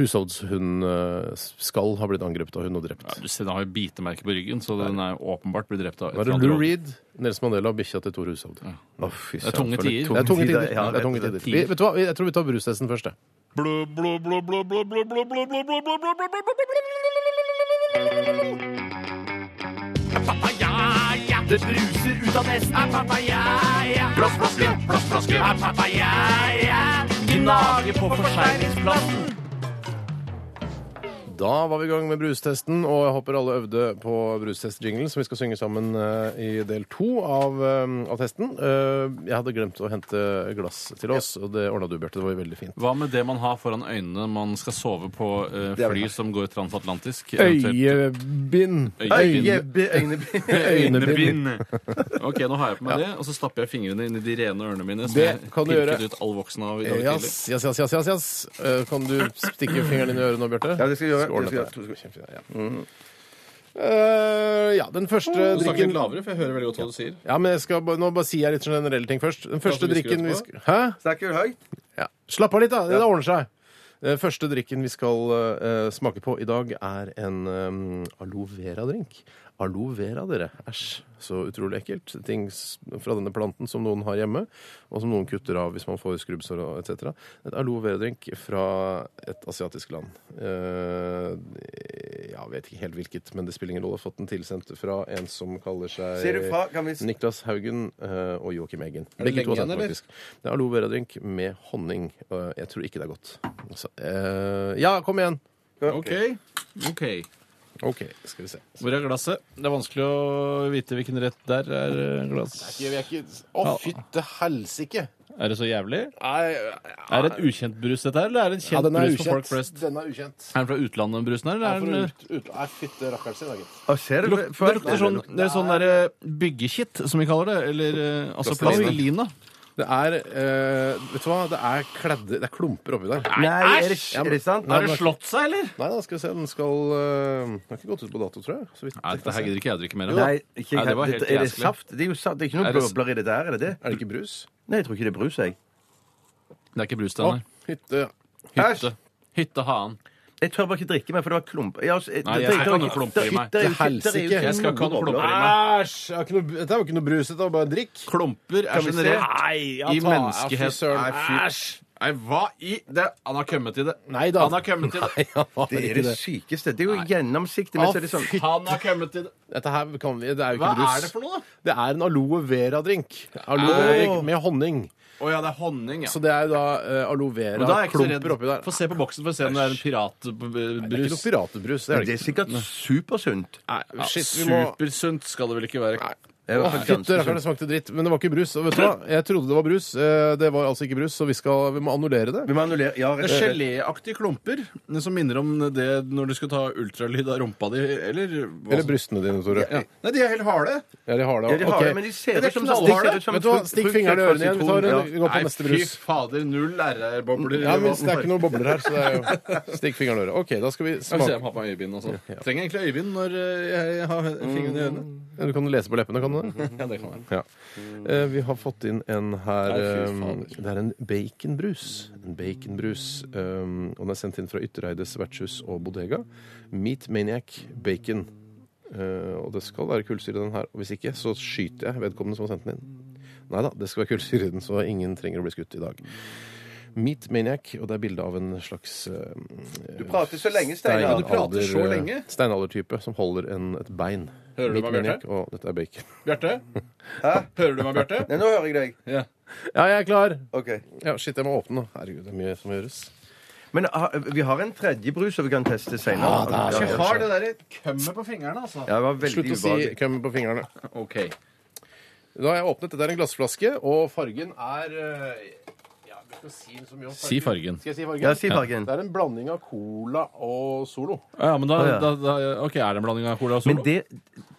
husholdshund eh, skal ha blitt angrepet av hund og drept. Ja, du ser, Den har jo bitemerke på ryggen, så den er jo åpenbart blitt drept av Nå er det et Lou eller annet rovdyr. Reed, Nels Mandela og bikkja til Tor Hushovd. Å, fy Det er tunge søren, for tider. Det er tunge tider. Ja, Det er tunge tider. Vi, vet du hva? Vi- Jeg tror vi tar brustesten først. jeg. Det bruser ut av nesten. Er papaya, ja. Plastflaske, plastflaske. Er papaya, ja. Gnage på forsegningsplassen. Da var vi i gang med brustesten, og jeg håper alle øvde på brustestjinglen, som vi skal synge sammen eh, i del to av, eh, av testen. Eh, Jeg hadde glemt å hente glass til oss, og det ordna du, Bjarte. Det var jo veldig fint. Hva med det man har foran øynene når man skal sove på eh, er vel fly som går transatlantisk? eventuelt Øyebind. øyebind. Øyebind. Ok, nå har jeg på meg det, og så stapper jeg fingrene inn i de rene ørene mine. Som Det jeg kan du pirket gjøre. ut all voksen av i dag tidlig. Yes, yes, yes, yes, yes, yes. Eh, Kan du stikke fingeren inn i øret nå, Bjarte? Ja, det skal jeg gjøre. Skål, Det skal jeg dette gjøre. er kjempefint, ja. Mm. Eh, ja, den første Du snakker drikken litt lavere, for jeg hører veldig godt hva du sier. Ja, men jeg skal bare, nå bare sier jeg litt generelle ting først. Den første Prater vi drikken vi skryt skal Hæ? Snakker du høyt? Ja. Slapp av litt, da. Det ordner seg. Den første drikken vi skal eh, smake på i dag, er en eh, aloe vera-drink. Aloe vera, dere. Æsj. Så utrolig ekkelt. Ting s- fra denne planten som noen har hjemme, og som noen kutter av hvis man får skrubbsår og etc. Et aloe vera-drink fra et asiatisk land. Uh, ja, vet ikke helt hvilket, men det spiller ingen rolle. Jeg har Fått den tilsendt fra en som kaller seg Sier Eh, du fra? Kan vi s- Niklas Haugen eh, og Joakim Eggen. Er det Begge to lenge har sendt, igjen, eller? faktisk. Det er aloe vera-drink med honning. og Jeg tror ikke det er godt. Så, eh, ja, kom igjen! Ok, ok. OK, skal vi se. Hvor er glasset? Det er vanskelig å vite hvilken rett der er eh, glass. Å, fytte helsike! Er det så jævlig? Nei Er det et ukjent brus dette her, eller er det en kjent brus for folk flest? Den er ukjent. Er den fra utlandet, den brusen her? Eller er den, fytte rakkeren sin, da, gitt. Å, ser du? Luk, det lukter sånn, det er sånn der eh, byggekitt, som vi kaller det. Eller eh, altså Plastelina. plastelina. Det er eh, Vet du hva? Det er kledde Det er klumper oppi der. Nei, er det, Ja, men- er det sant? Nei, Har det slått seg, eller? Nei da, skal vi se. Den skal eh, Den har ikke gått ut på dato, tror jeg. Så vidt Nei, jeg kan dette her se. gidder ikke jeg drikke mer av. Nei, ikke, Nei, det var helt er det jæsklig. saft? Det er jo saft. Det er Er ikke noen det s- bobler i det der, er det det? Er det ikke brus? Nei, jeg tror ikke det er brus, jeg. Det er ikke brus Å, til den her. hytte Æsj! Hytte. Hytte Haan. Jeg tør bare ikke drikke mer, for det var klump... Ja, altså, Nei, jeg det- skal det- ikke ha noe klumper i meg. det er jo- Det er helsike. det er jo Jeg skal ikke ha noe bobler. klumper i meg. Æsj! jeg har ikke noe- Dette er jo ikke noe brus, dette er bare drikk. Klumper er vi se? generelt i altså, ta- ja, fy menneskehet. søren. Nei, Æsj! Nei, hva i det? Han har kommet til det. Nei da. Han har kommet til det. Det er det sykeste. Det er jo gjennomsiktig. Å, Men så er det sånn fy- Han har kommet til det. Dette her kan vi, det er jo Hva ikke brus. er det for noe, da? Det er en aloe vera-drink. Aloe vera-drink med honning. Å ja, det er honning, ja. Så det er jo da eh, aloe Men da er jeg ikke så redd. vera-klumper oppi der. Få se på boksen for å se om det er en Det er ikke piratbrus. noe piratbrus. Det er Det det er ikke. sikkert supersunt. Nei, shit, vi må Supersunt skal det vel ikke være. Det er i hvert Åh, fall Fytti ganske rakkeren, det smakte dritt. Men det var ikke brus. Og vet du hva? Jeg trodde det var brus. Eh, Det var altså ikke brus, så vi, skal, vi må annullere det. Vi må annullere Ja, Det rett er geléaktige klumper eh, som minner om det når du skal ta ultralyd av rumpa di, eller hva Eller som- brystene dine, Tore. Altså. Ja. Nei, de er helt harde. Ja, de har det. Ja, de har Ok. det, men de ser Det er ut som knallharde. de ser ut som Vet du hva? frukt- Stikk frukt- fingeren i ørene igjen. Vi, tar en, sitron. vi går Nei, på neste fy brus. fader, null RR-bobler. Ja, men Det er ikke noen bobler her, så det er jo Stikk fingeren i øret. OK, da skal vi Jeg vil se smake. om jeg har på meg øyebind også. Trenger egentlig øyebind når eh, jeg har fingrene i øynene. Du kan lese på leppene, kan du det? Ja, det kan jeg. Ja. Eh, vi har fått inn en her Mhm. Nei, fy eh, fader. Det er en baconbrus. En baconbrus eh, og den er sendt inn fra Yttereides vertshus og bodega. Meat Maniac Bacon. Eh, og det skal være kullsyre i den her. Og hvis ikke, så skyter jeg vedkommende som har sendt den inn. Nei da, det skal være kullsyre i den, så ingen trenger å bli skutt i dag. Meat Maniac, og det er bilde av en slags eh, Du prater så lenge, Steinar. Ja, du prater så lenge. Steinaldertype eh, som holder en, et bein. Hører du Meat meg, Bjarte? Maniac, Og dette er bacon. Bjarte? Hæ? Hører du meg, Bjarte? Nei, nå hører jeg deg. Ja. Ja, jeg er klar! OK. Ja, shit, jeg må åpne nå. Herregud, det er mye som gjøres. Men ah, vi har en tredje brus som vi kan teste senere. Ja, det er ja, så- Har det derre kømmet på fingrene, altså. det var veldig Slutt å si ubehagelig. køm på fingrene. OK. Da har jeg åpnet. Dette er en glassflaske, og fargen er eh, ja, jeg skal si så mye om Si fargen. Skal jeg si fargen? Ja, si fargen. Det er en blanding av cola og Solo. Ja, men da, Å, ja. da, da OK, er det en blanding av cola og Men solo? det,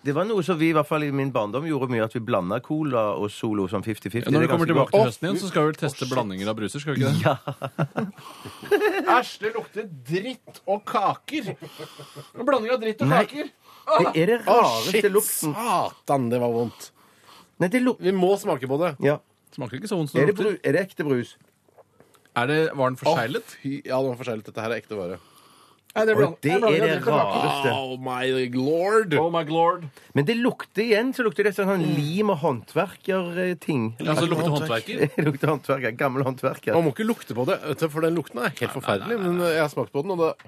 det var noe som vi i hvert fall i min barndom gjorde mye, at vi blanda cola og Solo sånn 50-50. Når Det vi er kommer ganske tilbake godt. til høsten igjen, så skal vi vel teste blandinger av bruser, skal vi ikke det? Æsj, det lukter dritt og kaker! Blanding av dritt og Nei. kaker. Det er det Å, rareste shit! lukten. Satan, det var vondt. Nei, det luk Vi må smake på det. ja. Smaker ikke så vondt som er, det det bru lukter. er det ekte brus? Er det, var den forseglet? Å, fy- Ja, det var forseglet. Dette her er ekte vare. Nei, det er Og bland- det blanding er av det dritt og kaker. rareste. Oh my lord! Oh my lord. Men det lukter igjen så lukter det sånn Mm. lim- og håndverkerting. Ja, så lukter håndverker. Det lukter håndverker. Gammel håndverker. Man må ikke lukte på det, vet du, for den lukten er helt forferdelig. Men jeg har smakt på den, og det,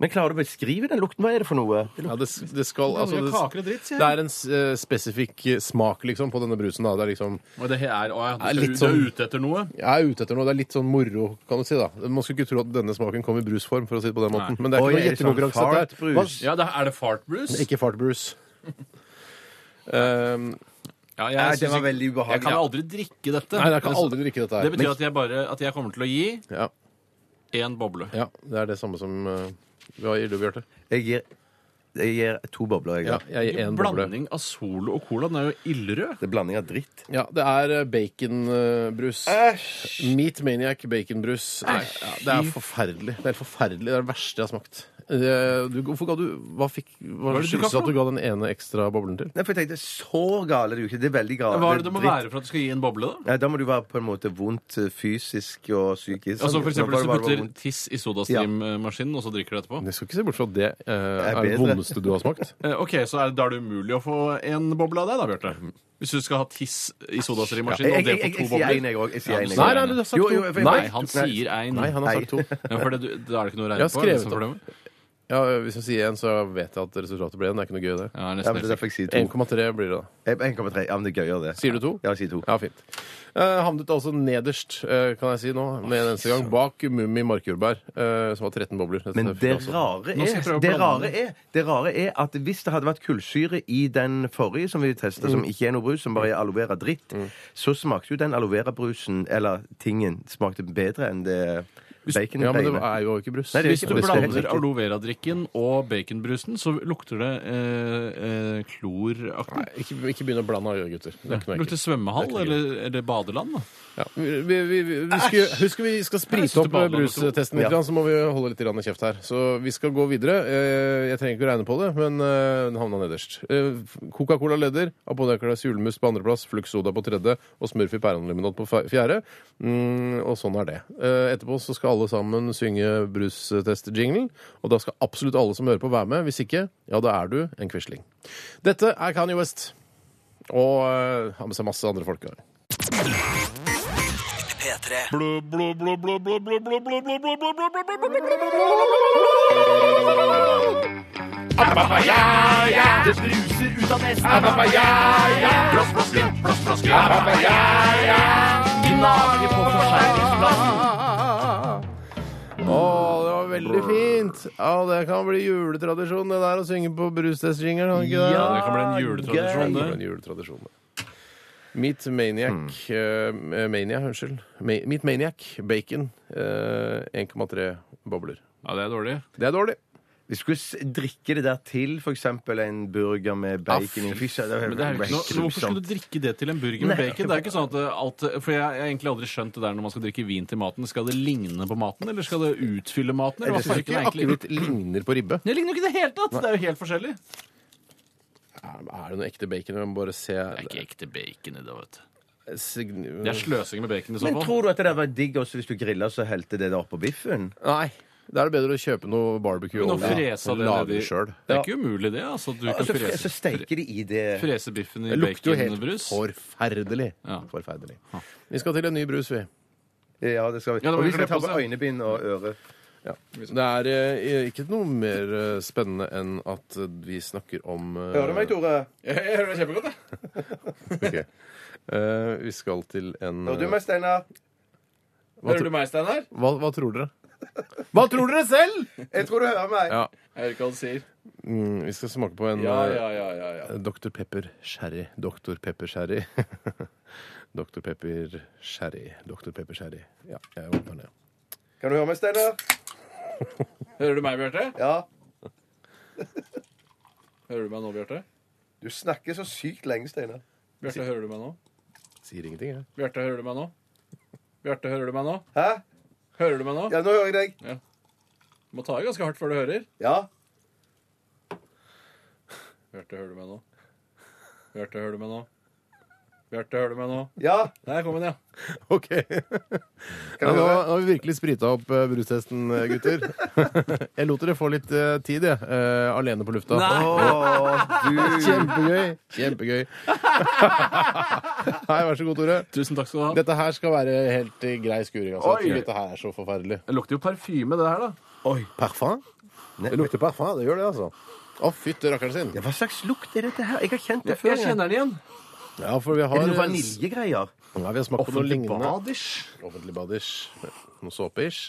Men klarer du å beskrive den lukten? Hva er det for noe? Det ja, det, det skal altså, Blanding av kaker det, og dritt, sier det jeg. er en s- eh, spesifikk eh, smak liksom, på denne brusen. Da. Det er liksom Og det er, å, ja, er du, litt du, du er sånn- ute etter noe? Jeg er ute etter noe. Det er litt sånn moro, kan du si. da Man skulle ikke tro at denne smaken kom i brusform, for å si det på den måten. Nei. Men det er Oi, ikke noe er det sånn gjettekonkurranse. dette her. fartbrus? Ja, det er det fartbrus? Hva- Ikke fartbrus. Um, Ja, jeg, Nei, det synes var ikke- veldig ubehagelig. Jeg kan aldri drikke dette. nei, jeg kan aldri drikke dette Det her. betyr at jeg bare at jeg kommer til å gi Ja, én boble. ja, det er det samme som uh, vi har i Bjarte. Jeg gir, jeg gir to bobler. Jeg, Ja, da. jeg gir én boble. Blanding av Solo og Cola, den er jo ildrød. Det er blanding av dritt. Ja, det er eh, baconbrus. Meat Maniac baconbrus. Nei, Ja, det er forferdelig. Det er forferdelig. Det er det verste jeg har smakt. Eh, Du, hvorfor ga du Hva, fikk, hva, Hva er det du skyldes ga det at du ga den ene ekstra boblen til? Nei, for jeg tenkte, Så gale er det jo ikke. Det er veldig gale. Hva er det det må dritt. være for at du skal gi en boble, da? Nei, Da må du være på en måte vondt eh, fysisk og psykisk. Altså for eksempel Bare- hvis du bare- bare putter vondt. tiss i sodastream-maskinen, og så drikker du etterpå. Jeg skal ikke se bort fra at det eh, er det bedre. vondeste du har smakt. Eh, Ok, så er, Da er det umulig å få en boble av deg, da, Bjarte. Hvis du skal ha tiss i Jeg, sodastream-maskinen, jeg, og det jeg, jeg, får to sier én, bobler jeg òg. Jeg sier Ja, én, du sier jeg Nei, også. nei, du har sagt Jo, jo, to. jeg- jeg- Nei, jeg- han sier én. Nei, han har sagt to. Ja, for det, du- da er det ikke noe å Jeg regne har på? er skrevet det som er opp. problemet? Ja, hvis jeg sier én, så vet jeg at resultatet ble én. Det er ikke noe gøy, det. Ja, jeg er Ja, nesten men helt det er derfor jeg sier to. 1,3 blir det, da. Jeg- 1,3. Ja, men det er gøyere, det. Sier du to? Ja, jeg sier to. Ja, fint. Eh, havnet altså nederst, eh, kan jeg si nå, med en eneste gang, bak Mummi markjordbær, eh, som har 13 bobler. Dette Men er det altså. rare, Nå skal jeg prøve er, å det, blande rare er, det rare er at hvis det hadde vært kullsyre i den forrige som vi testet, som Mm. ikke er noe brus, som bare er aloe vera dritt, så smakte jo den aloe vera brusen, eller tingen, smakte bedre enn det bacon Ja, men det pleier. er jo ikke brus. Nei, det er Hvis ikke du brus, det er helt blander riktig. aloe vera-drikken og baconbrusen, så lukter det eh, eh, kloraktig. Nei, ikke, ikke begynn å blande av, gutter. Det er ikke noe Lukter ekkelt. svømmehall eller, eller badeland. da. Ja. Vi, vi, vi, vi skal, husk vi skal Jeg synes sprite det opp bader med to. brustesten litt, Ja. grann, så må vi holde litt grann kjeft her. Så vi skal gå videre. Eh, Jeg trenger ikke å regne på det, men eh, den havna nederst. Eh, Coca-Cola leder, Apothekernes julemus på andreplass, Flux Soda på tredje og Smurf i pæreanliminat på fe- fjerde. Mm, og sånn er det. Eh, Etterpå så skal alle sammen synge brustest-jinglen, og da skal absolutt alle som hører på, være med. Hvis ikke, ja, da er du en quisling. Dette er Kanye West. Og eh, har med seg masse andre folk. P3. Å, det var veldig fint! Ja, Det kan bli juletradisjon, det der å synge på brustestjingeren. kan det ikke det? Ja, Det kan bli en Det juletradisjon. kan bli det. en juletradisjon. Meat Maniac Hmm. eh, Mania, unnskyld. Ma- Meat Maniac Bacon. eh, 1,3 bobler. Ja, Det er dårlig. Det er dårlig. Vi skulle s- drikke det der til, for eksempel en burger med bacon i en fisk. Det Ah, Men det er jo ikke noe, så hvorfor skulle du drikke det til en burger med bacon? Det er jo ikke sånn at det alt, For jeg jeg har egentlig aldri skjønt det der når man skal drikke vin til maten. Skal det ligne på maten, eller skal det utfylle maten? Eller hva Jeg skal syns det ikke egentlig? akevitt ligner på ribbe. Det ligner jo ikke i det hele tatt! Det er jo helt forskjellig. Er er det noe ekte bacon? Jeg må bare se Det er ikke ekte bacon i det, vet du. Sign- Det er sløsing med bacon i så Men fall. tror du at det der var digg også hvis du grilla, så helte det der oppå biffen? Nei. Da er det bedre å kjøpe noe barbecue Men å og frese det lage nedi- det sjøl. Det er ikke umulig, det. altså. Du Og kan så, fre- så frese, steiker de i det. frese biffen i Det lukter jo helt baconbrus. forferdelig. Ja. forferdelig. Vi skal til en ny brus, vi. Ja, det skal vi. Ja, da må Og vi vi kle skal ta på på oss, ja. øynebind og øre. Det er eh, ikke noe mer eh, spennende enn at eh, vi snakker om eh, Hører du meg, Tore? Jeg hører det kjempegodt, jeg. ok. Eh, vi skal til en Hører du meg, Steinar? hva, tro- meg, Steinar? hva, hva tror dere? Hva tror dere selv? Jeg tror du hører meg. Ja. Jeg hører ikke hva du sier. Mm, vi skal smake på en Ja, eh, ja, ja, ja, ja. Dr. Pepper Sherry. Dr. Pepper Sherry. Dr. Pepper Sherry. Dr. Pepper Sherry. Ja, jeg åpner den. Kan du høre meg, Steinar? Hører du meg, Bjarte? Ja. Hører du meg nå, Bjarte? Du snakker så sykt lenge, Steinar. Bjarte, hører du meg nå? Sier ingenting, jeg. Bjarte, hører du meg nå? Bjarte, hører du meg nå? Hæ? Hører du meg nå? Ja, nå hører jeg deg. Må ta i ganske hardt før du hører. Ja. Bjarte, hører du meg nå? Bjarte, hører du meg nå? Bjarte, hører du meg nå? Ja. Der kom den, ja. OK. Ja, nå nå har vi virkelig sprita opp eh, brustesten, eh, gutter. jeg lot dere få litt eh, tid, jeg. eh, alene på lufta. Nei. Å, du. Kjempegøy. Kjempegøy. Nei, vær så god, Tore. Tusen takk skal du ha. Dette her skal være helt eh, grei skuring. Altså. Oi. Fy, Dette her er så forferdelig. Det lukter jo parfyme, det her, da. Parfum? Det lukter parfum. Det gjør det, altså. Å, fytte rakkeren sin. Ja, hva slags lukt er dette her? Jeg Mm. har kjent det Jeg, før. jeg kjenner den igjen. Ja, for vi har Er det noe vaniljegreier? Nei, vi har smakt på noe lignende. baders. Offentlig badish. Noe såpeish.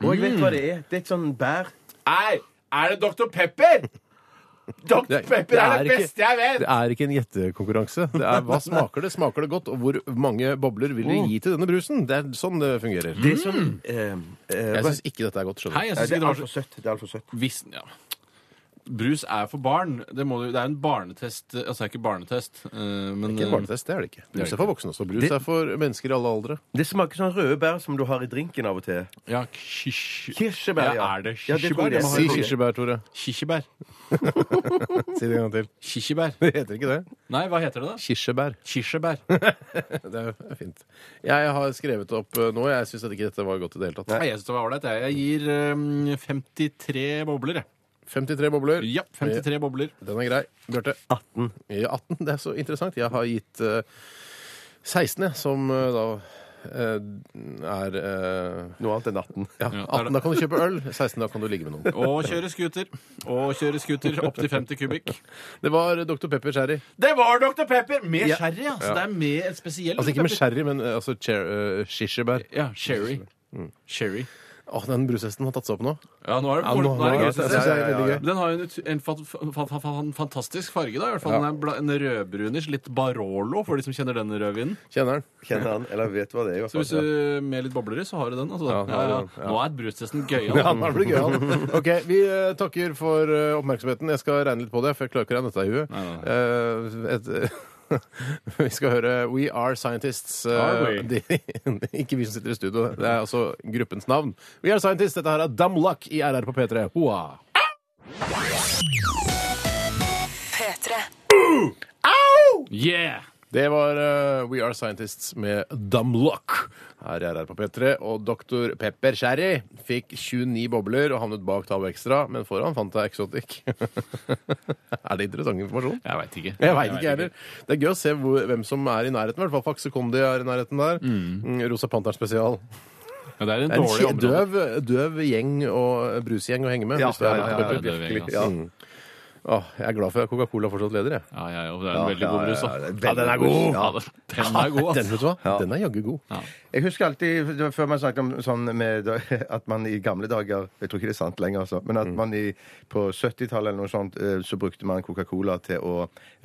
Og jeg vet hva det er. Det er et sånn bær. Nei, er det Dr. Pepper? Dr. Det- det Pepper er er det ikke- beste jeg Det vet! er ikke en gjettekonkurranse. Det er hva smaker det, smaker det godt, og hvor mange bobler vil du gi til denne brusen? Det er sånn det fungerer. Det er sånn eh, eh, Jeg hva- syns ikke dette er godt. skjønner du. Nei, jeg Nei, synes ikke Det er det var så altfor søtt. Det er alt for søtt. Hvis, ja. Brus er for barn. Det, må, du- det er en barnetest Altså, det er ikke barnetest, eh, men Ikke en barnetest, det er det ikke. Brus er for voksne også. Brus Det- er for mennesker i alle aldre. Det smaker sånn røde bær som du har i drinken av og til. eh, Ja, kirsebær. Kirsebær, ja. ja. Er det Ja, det kirsebær? tror jeg. Jeg må ha- Si kirsebær, Tore. Kirsebær. Si det en gang til. Kirsebær. Det heter ikke det. Nei, hva heter det da? Kirsebær. Kirsebær. Det er fint. Jeg har skrevet opp eh, noe. Jeg syns ikke dette var godt i det hele tatt. Nei, Jeg synes det var ålreit. Jeg Jeg gir eh, 53 bobler, jeg. 53 bobler. Ja, 53 bobler. Den er grei. Bjarte? 18. Ja, 18. Det er så interessant. Jeg har gitt eh, 16, jeg, som eh, da eh, er eh, Noe annet enn 18. ja, det er 18 da kan du kjøpe øl, 16 da kan du ligge med noen. Og kjøre scooter. Og kjøre scooter opp til 50 kubikk. Det var Dr. Pepper Sherry. Det var Dr. Pepper! Med Ja. sherry, altså. Det er med en spesiell Altså ikke med pepper. sherry, men eh, altså cher- eh, kirsebær. Ja, sherry. Sherry. Åh, den brushesten har tatt seg opp nå. Ja, nå er det, Ja, nå, nå er det gøy. det synes synes jeg jeg. er veldig gøy. Den har jo en, ut- en fa fa fa fa fantastisk farge, da. I hvert fall den er bla- en rødbruners, litt Barolo, for de som kjenner den rødvinen. Kjenner den. Kjenner han, eller vet hva det er. i hvert Så hvis fall. du med litt bobler i, så har du den. Altså. Ja, Ja, ja. ja, ja. Nå er brustesten gøy. Ja, Altså. nå blir det gøy. han. Ok, Vi eh, takker for eh, oppmerksomheten. Jeg skal regne litt på det, for jeg klarer ikke å regne dette i huet. Eh, et, vi skal høre We Are Scientists. eh, Are de, we? ikke vi som sitter i studio, det er altså gruppens navn. We Are Scientists. Dette her er Dumb Luck i RR på P3. Hoa! P3. Yeah! Det var eh, We Are Scientists med Dumb Luck. Her er her på P3, og doktor Pepper Sherry fikk 29 bobler og havnet bak Tav Extra, men foran fant jeg Exotic. er det interessant informasjon? Jeg veit ikke. Jeg veit ikke heller. Det er gøy å se hvor, hvem som er i nærheten. I hvert fall Faxe Kondi er i nærheten der. Mm, Rosa Panteren spesial. Ja, det Det er en er en dårlig kje- område. døv, døv gjeng og brusgjeng å henge med. Ja, hvis du er ja, ja, Dr. ja, Pepper. det er Virkelig, vi, ja. Åh, jeg er glad for at Coca-Cola fortsatt leder, jeg. Ja, ja, ja, det er en veldig god brus. da. Ja, den er god. Ja, det- den er god, Den, altså. vet du hva? Ja. Den er jaggu god. Jeg husker alltid, det var før man snakket om sånn med, at man i gamle dager Jeg tror ikke det er sant lenger, altså. Men at man i, på 70-tallet eller noe sånt, eh, så brukte man Coca-Cola til å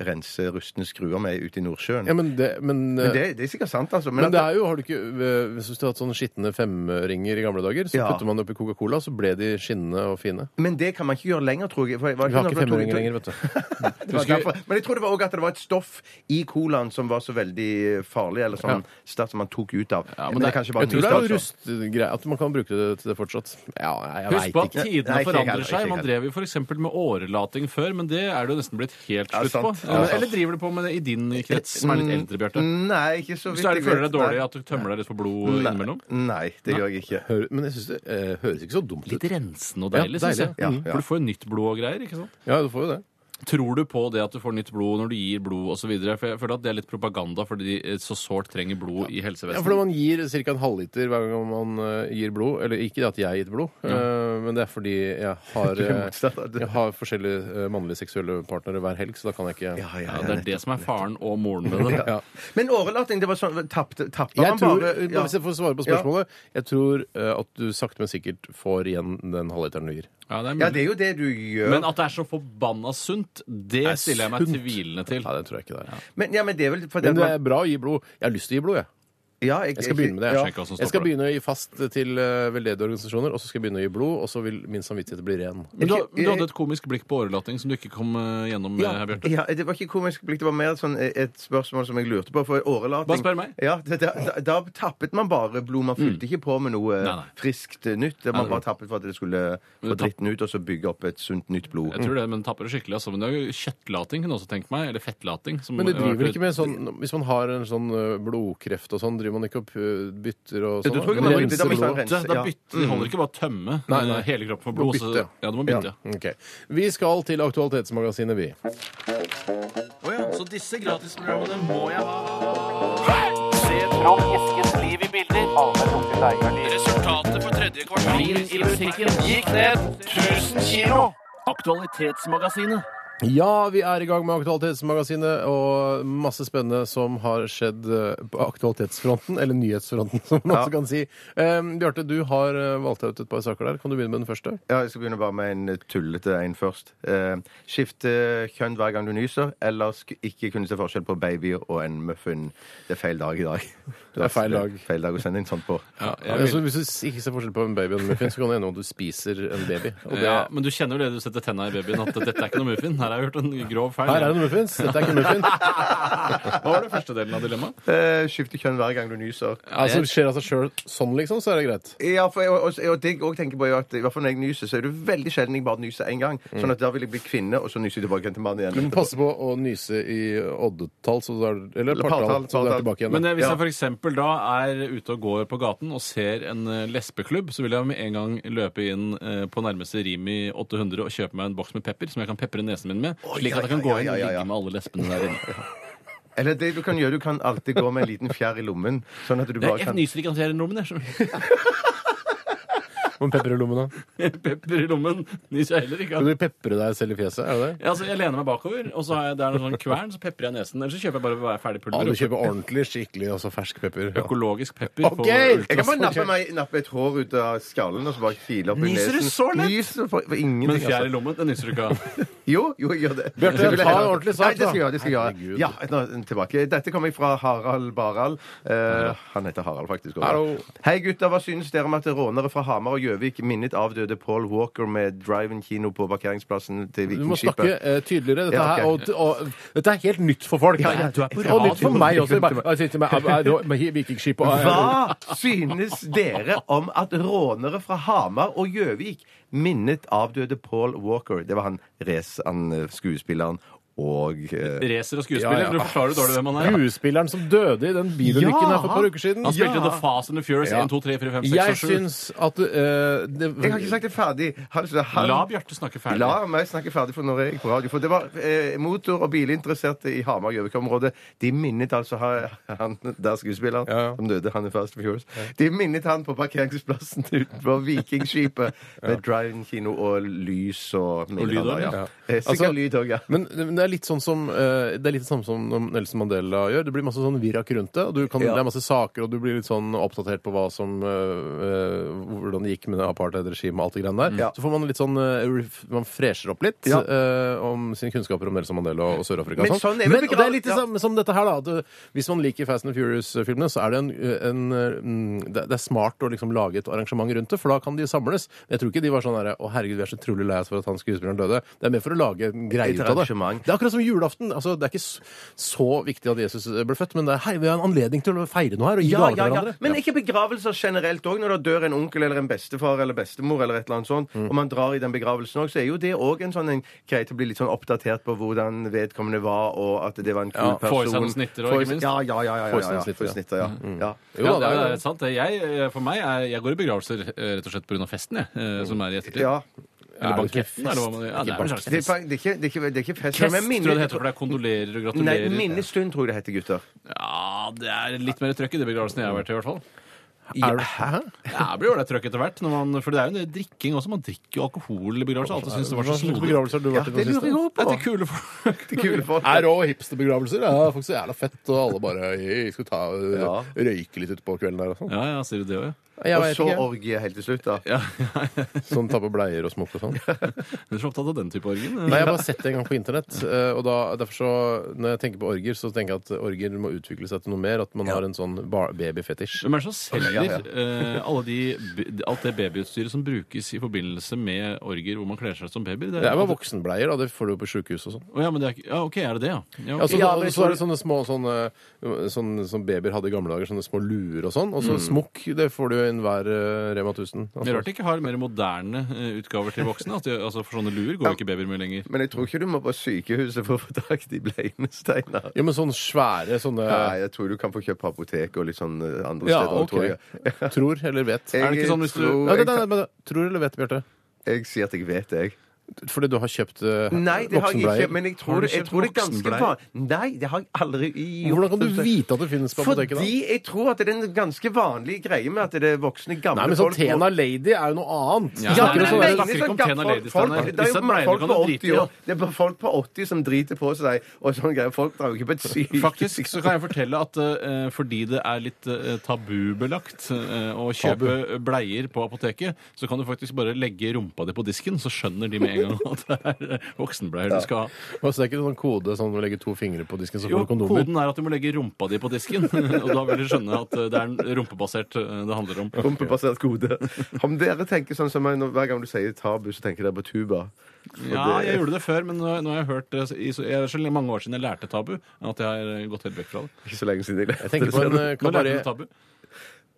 rense rustne skruer med ute i Nordsjøen. Ja, men det, men, Men det, det er sikkert sant, altså. Men Men, det at, er jo, har du ikke, øh, Hvis du har hatt sånne skitne femringer i gamle dager, så Ja. putter man det oppi Coca-Cola, så ble de skinnende og fine. men det kan man ikke gjøre lenger, tror jeg. For jeg var Vi har ikke ikke noe- femringer lenger, vet du. Det var derfor. Men jeg tror det var også at det var et stoff i colaen som var så veldig farlig, eller som, ja. som man tok ut av. Ja, men men, det- det er kanskje bare Jeg tror det er altså. jo rustgreie, at man kan bruke det til det fortsatt. Ja, nei, jeg Husk veit på at ikke. tidene Nei, ikke jeg forandrer heller, seg. ikke Man jeg drev jo f.eks. med årelating før, men det er det jo nesten blitt helt Ja, slutt på. sant. Ja, Eller- sant. mm, Eller driver du på med det i din krets, som er litt eldre, Bjarte? Nei, ikke så vidt Så er det, jeg føler du vet. deg dårlig Nei. at du tømmer deg litt for blod innimellom? Nei, det gjør jeg ikke. Hører- Men jeg synes det eh, høres ikke så dumt Litt ut. rensende og Ja, deilig, syns jeg. deilig. Ja, Mm. For du får jo nytt blod og greier, ikke sant? Ja, du får jo det. Tror du på det at du får nytt blod når du gir blod osv.? For jeg føler at det er litt propaganda, fordi de eh, så sårt trenger blod i Ja, for helsevesenet. når man gir ca. en halvliter hver gang man eh, gir blod, eller ikke at jeg har gitt blod, eh, eh, men det er fordi jeg har, er eh, motstander. jeg har forskjellige eh, mannlige seksuelle partnere hver helg, så da kan jeg ikke Ja, Ja, ja, det er det som er faren og moren med det. Ja. Men årelating, det var sånn Tapper Jeg han tror, bare ja. Hvis jeg får svare på spørsmålet Jeg tror eh, at du sakte, men sikkert får igjen den halvliteren du gir. Ja, det er ja, mulig. det er jo det du gjør. Men at det er så forbanna sunt, det Er stiller jeg meg sunt? tvilende til. Nei, det tror jeg ikke det er. Men, ja, men det er vel fordi Men det at man- er bra å gi blod. Jeg har lyst til å gi blod, jeg. ja, Jeg skal begynne med det. Ja. Sjekk hva som Jeg skal stopper det. begynne å gi fast til eh, veldedige organisasjoner, og så skal jeg begynne å gi blod, og så vil min samvittighet bli ren. Men du, du hadde et komisk blikk på årelating som du ikke kom eh, gjennom med, her, Bjarte. Ja, Det var ikke komisk blikk, det var mer sånn et spørsmål som jeg lurte på. For årelating Bare spør meg. Mm. Ja, det, da, da, da tappet man bare blod. Man fylte ikke på med noe eh, Nei, nei. friskt nytt. Man det var- bare tappet for at det skulle få det tapp- dritten ut, og så bygge opp et sunt, nytt blod. Jeg tror det, men tapper det skikkelig. Altså. Men det er jo kjøttlating kunne jeg også tenkt meg. Eller fettlating. som- Men det driver ikke med sånn Hvis man har en sånn eh, blodkreft og sånn, driver man ikke opp eh, bytter og Ja, sånn? du tror ikke da? man- Renser da må man- blodet? rense, Da, da ja. bytter, Det holder ikke bare å tømme Mm. Nei, nei. eh, hele kroppen for Du må blod. så- bytte. Ja, du må bytte. ja. Ok. Vi skal til Aktualitetsmagasinet, vi. Så disse gratisprogrammene må jeg ha. Se fram Eskens liv i bilder. Resultatet på tredje kvartal i musikken gikk ned 1000 kilo. Aktualitetsmagasinet. Ja, vi er i gang med Aktualitetsmagasinet, og masse spennende som har skjedd eh, på aktualitetsfronten, eller nyhetsfronten, som man Ja. også kan si. Um, Bjarte, du har eh, valgt ut et par saker der. Kan du begynne med den første? Ja, jeg skal begynne bare med en eh, tullete en først. Eh, skifte kjønn hver gang du nyser, eller sk ikke kunne se forskjell på baby og en muffin. Det er feil dag i dag. Det er feil dag. Feil dag å sende inn sånt på. Ja, jeg vil- Altså, hvis du s- ikke ser forskjell på en baby og en muffins, så kan det hende om du spiser en baby. Og det, ja, men du kjenner jo det du setter tenna i babyen, at dette er ikke noe muffin. Her har jeg gjort en grov feil. Her er det en muffins. Dette er ikke en muffins. Hva var det første delen av dilemmaet? Eh, skifte kjønn hver gang du nyser. Altså, det skjer av seg sjøl sånn, liksom, så er det greit. Ja, for jeg, og, og det jeg også tenker på er jo at i hvert fall når jeg nyser, så er det veldig sjelden jeg bare nyser én gang. Mm. Sånn at da vil jeg bli kvinne, og så nyser jeg tilbake igjen til mann igjen. Du må passe på å nyse i oddetall, så du er, eller partall, partall, så du er partall. tilbake igjen. Men eh, hvis Ja. jeg f.eks. da er ute og går på gaten og ser en eh, lesbeklubb, så vil jeg med en gang løpe inn eh, på nærmeste Rimi 800 og kjøpe meg en boks med pepper som jeg kan pepre nesen min med, Å, slik ja, at jeg kan ja, gå ja, inn ja, og ja, ja. ligge med alle lesbene der inne. Eller det du kan gjøre, du kan alltid gå med en liten fjær i lommen. Sånn at du Jeg, bare jeg kan nyser ikke annet jeg er i lommen, jeg. Må du pepre i lommen, da? så Pepper i lommen nyser jeg heller ikke. Skal du pepre deg selv i fjeset? Er det det? Ja, altså, jeg lener meg bakover, og så har jeg, det er noen sånn kvern, så peprer jeg nesen. Eller så kjøper jeg bare hver ferdig Ja, pulver. du kjøper ordentlig, skikkelig altså fersk pepper. Ja. Økologisk pepper. på Ok! ultra- Jeg kan bare nappe, meg, nappe et hår ut av skallen og så bare file opp i Nyser nesen. du så lett? Nyser for, for Men ingenting. fjær i lommen, det nyser du ikke av. altså. Jo, jo, jeg gjør det. Bjarte, Det vil jeg ta en gjøre. ordentlig sak, Nei, det skal jeg da. gjøre. det skal jeg Herregud. gjøre. Ja, nå, tilbake. Dette kommer fra Harald Barald. Eh, han heter Harald, faktisk. også. Hallo. Hei, gutter. Hva synes dere om at rånere fra Hamar og Gjøvik minnet avdøde Paul Walker med drive-in kino på parkeringsplassen til Du må Vikingskipet? snakke eh, tydeligere. Dette, Ja, ok. her, og, og, dette er helt nytt for folk. ja, du er på og nytt for radio. meg også. Jeg bare- Jeg sitter med, jeg- jeg- med vikingskip og Hva synes dere om at rånere fra Hamar og Gjøvik minnet avdøde Paul Walker? Det var han, res, han eh, skuespilleren og eh, Racer og skuespiller, du forklarer dårlig hvem han er. Skuespilleren som døde i den bilulykken Ja. her for et par uker siden. Han spilte The Fast and the Furious Ja. 1, 2, 3, 4, 5, 6 Jeg og 7. syns at eh, det, Jeg har ikke sagt det ferdig. Han, Altså, han, La Bjarte snakke ferdig. La meg snakke ferdig, for når jeg gikk på radio. For det var eh, motor- og bilinteresserte i Hamar-Gjøvik-området. De minnet altså ha- han der skuespilleren Ja, ja. som døde, han i Fast and Furious. De minnet han på parkeringsplassen utenfor Vikingskipet med drive-in kino og lys og minnet lyd han da, også, ja. ja. Eh, Sikkert Altså- lyd òg, ja. Men men det er litt sånn som eh, Det er litt det samme som når Nelson Mandela gjør. Det blir masse sånn virak rundt det. Og du kan, Ja. Det er masse saker, og du blir litt sånn oppdatert på hva som eh, eh, hvordan det gikk med det apartheid-regimet og alt det greiene der. Mm. Ja. Så får man litt sånn eh, ref- Man fresher opp litt Ja. eh, om sine kunnskaper om Nelson Mandela og Sør-Afrika. Men og sånn. sånn er Men vel og det er litt det begravet- samme som dette her, da. at, eh, hvis man liker Fast and Furious-filmene, så er det en, en eh, mm, Det det er smart å liksom lage et arrangement rundt det, for da kan de samles. Men jeg tror ikke de var sånn herre Å, herregud, vi er så utrolig lei oss for at han skuespilleren døde. Det er mer for å lage en greie Et ut av det. arrangement. Det er akkurat som julaften. Altså, det er ikke s- så viktig at Jesus eh, ble født, men det er, hei, vi har en anledning til å feire noe her og gi Ja, gaver ja, til ja. hverandre. Men ikke begravelser generelt òg. Når det dør en onkel eller en bestefar eller bestemor, eller et eller annet sånt, Mm. og man drar i den begravelsen òg, så er jo det òg en sånn en greie til å bli litt sånn oppdatert på hvordan vedkommende var, og at det var en kul Ja, person. få i seg noen snitter også, Få i- ikke minst. Ja, ja, ja. ja, Få i ja, seg ja, noen snitter, Få i ja. snitter, ja. ja. Jo Ja, Mm. da, det er, det er, sant. det. Jeg, eh, for meg er, jeg går i begravelser eh, rett og slett pga. festen, jeg, eh, som er i ettertid. ja. Eller Er det ikke banketten, eller hva man ja, det er en slags Det, er, fest. fa- det, er ikke, det, er ikke, det er ikke fest, Fest, men minne- tror jeg det heter, for det er kondolerer og Nei, gratulerer. minnestund tror jeg det heter, gutter. Ja, det er litt mer trøkk i de begravelsene jeg har vært i, i hvert fall. Er det- Hæ? Ja, det blir ålreit trøkk etter hvert. Når man, for det er jo en del drikking også. Man drikker jo alkohol i begravelser. Alltid synes det var Hva så slags snodig. begravelser har du vært i det den lurer jeg siste? også Det på. er til kule folk. Det er kule folk. Er rå hipsterbegravelser. Ja, folk så jævla fett, og alle bare «Hei, skal ta, Ja. røyke litt utpå kvelden der og sånn. Ja, ja, sier du det òg, ja. Og så orgie helt til slutt, da. Ja, ja, ja. Sånn ta på bleier og smokke og sånn. Du er så opptatt av den type orgen. eh. Nei, jeg har bare sett det en gang på internett. eh, Og da, derfor så, når jeg tenker på orger, så tenker jeg at orger må utvikle seg til noe mer. At man har en sånn bar- babyfetisj. Hvem er det som selger Ja, ja. eh, alle de, alt det babyutstyret som brukes i forbindelse med orger hvor man kler seg som babyer? Det er bare voksenbleier, da. Det får du jo på sjukehus og sånn. Å, ja, men det er, ikke- ja, OK, er det det, ja? ja, Ja, ok. altså, så, Ja, men jeg så tror- er det sånne små sånne, sånne, sånn, som babyer hadde i gamle dager, sånne små luer og sånn. Og så smokk, det får du jo i enhver eh, Rema 1000. Det er Rart de ikke har mer moderne eh, utgaver til voksne. At de, altså, for sånne luer går jo ikke babyer med lenger. Men jeg tror ikke du må på sykehuset for å få tak i de bleiene, Steinar. Jo, men sånne svære sånne Nei, jeg tror du kan få kjøpt på apoteket og litt sånn eh, andre Ja, steder. OK. Tror jeg. Tror eller vet. Jeg Er det ikke sånn hvis du- tror- Ja, jeg, nei, nei, men tror eller vet, Bjarte? jeg sier at jeg vet det, jeg. Fordi du har kjøpt eh, Nei, det har jeg ikke. voksenbleier? Men jeg Har tror, du det- jeg kjøpt tror det er ganske voksenbleier? vanlig. Nei, det har jeg aldri gjort. Hvordan kan du vite at det finnes på apoteket? da? Fordi jeg tror at det er en ganske vanlig greie med at det er voksne, gamle Nei, men sånn folk Tena Lady er jo noe sånn- annet. Ja, Vi snakker men om det er sånne- veldig- snakker ikke om Tena Lady, sånn folk, Steinar. det er Disse jo bleiene folk kan på du drite 80 i, ja. år Det er bare folk på 80 som driter på seg og sånn greier. Folk drar jo ikke på et sykehus. Faktisk så kan jeg fortelle at eh, fordi det er litt eh, tabubelagt eh, å kjøpe bleier på apoteket, så kan du faktisk bare legge rumpa di på disken, så skjønner de med en gang at det er eh, voksenbleier du skal ha. Og så er det ikke sånn kode sånn å legge to fingre på disken, så Jo, får du kondomer. koden er at du må legge rumpa di på disken, og da vil du skjønne at eh, det er en rumpebasert eh, det handler om. Rumpebasert kode. Om dere tenker sånn som meg, når- hver gang du sier tabu, så tenker dere på tuba. For Ja, det- jeg gjorde det før, men nå, nå har jeg hørt det i så, jeg, så mange år siden jeg lærte tabu, at jeg har eh, gått helt vekk fra det. Ikke så lenge siden jeg lærte Jeg tenker på en eh, Nå lærte du kabaret. tabu.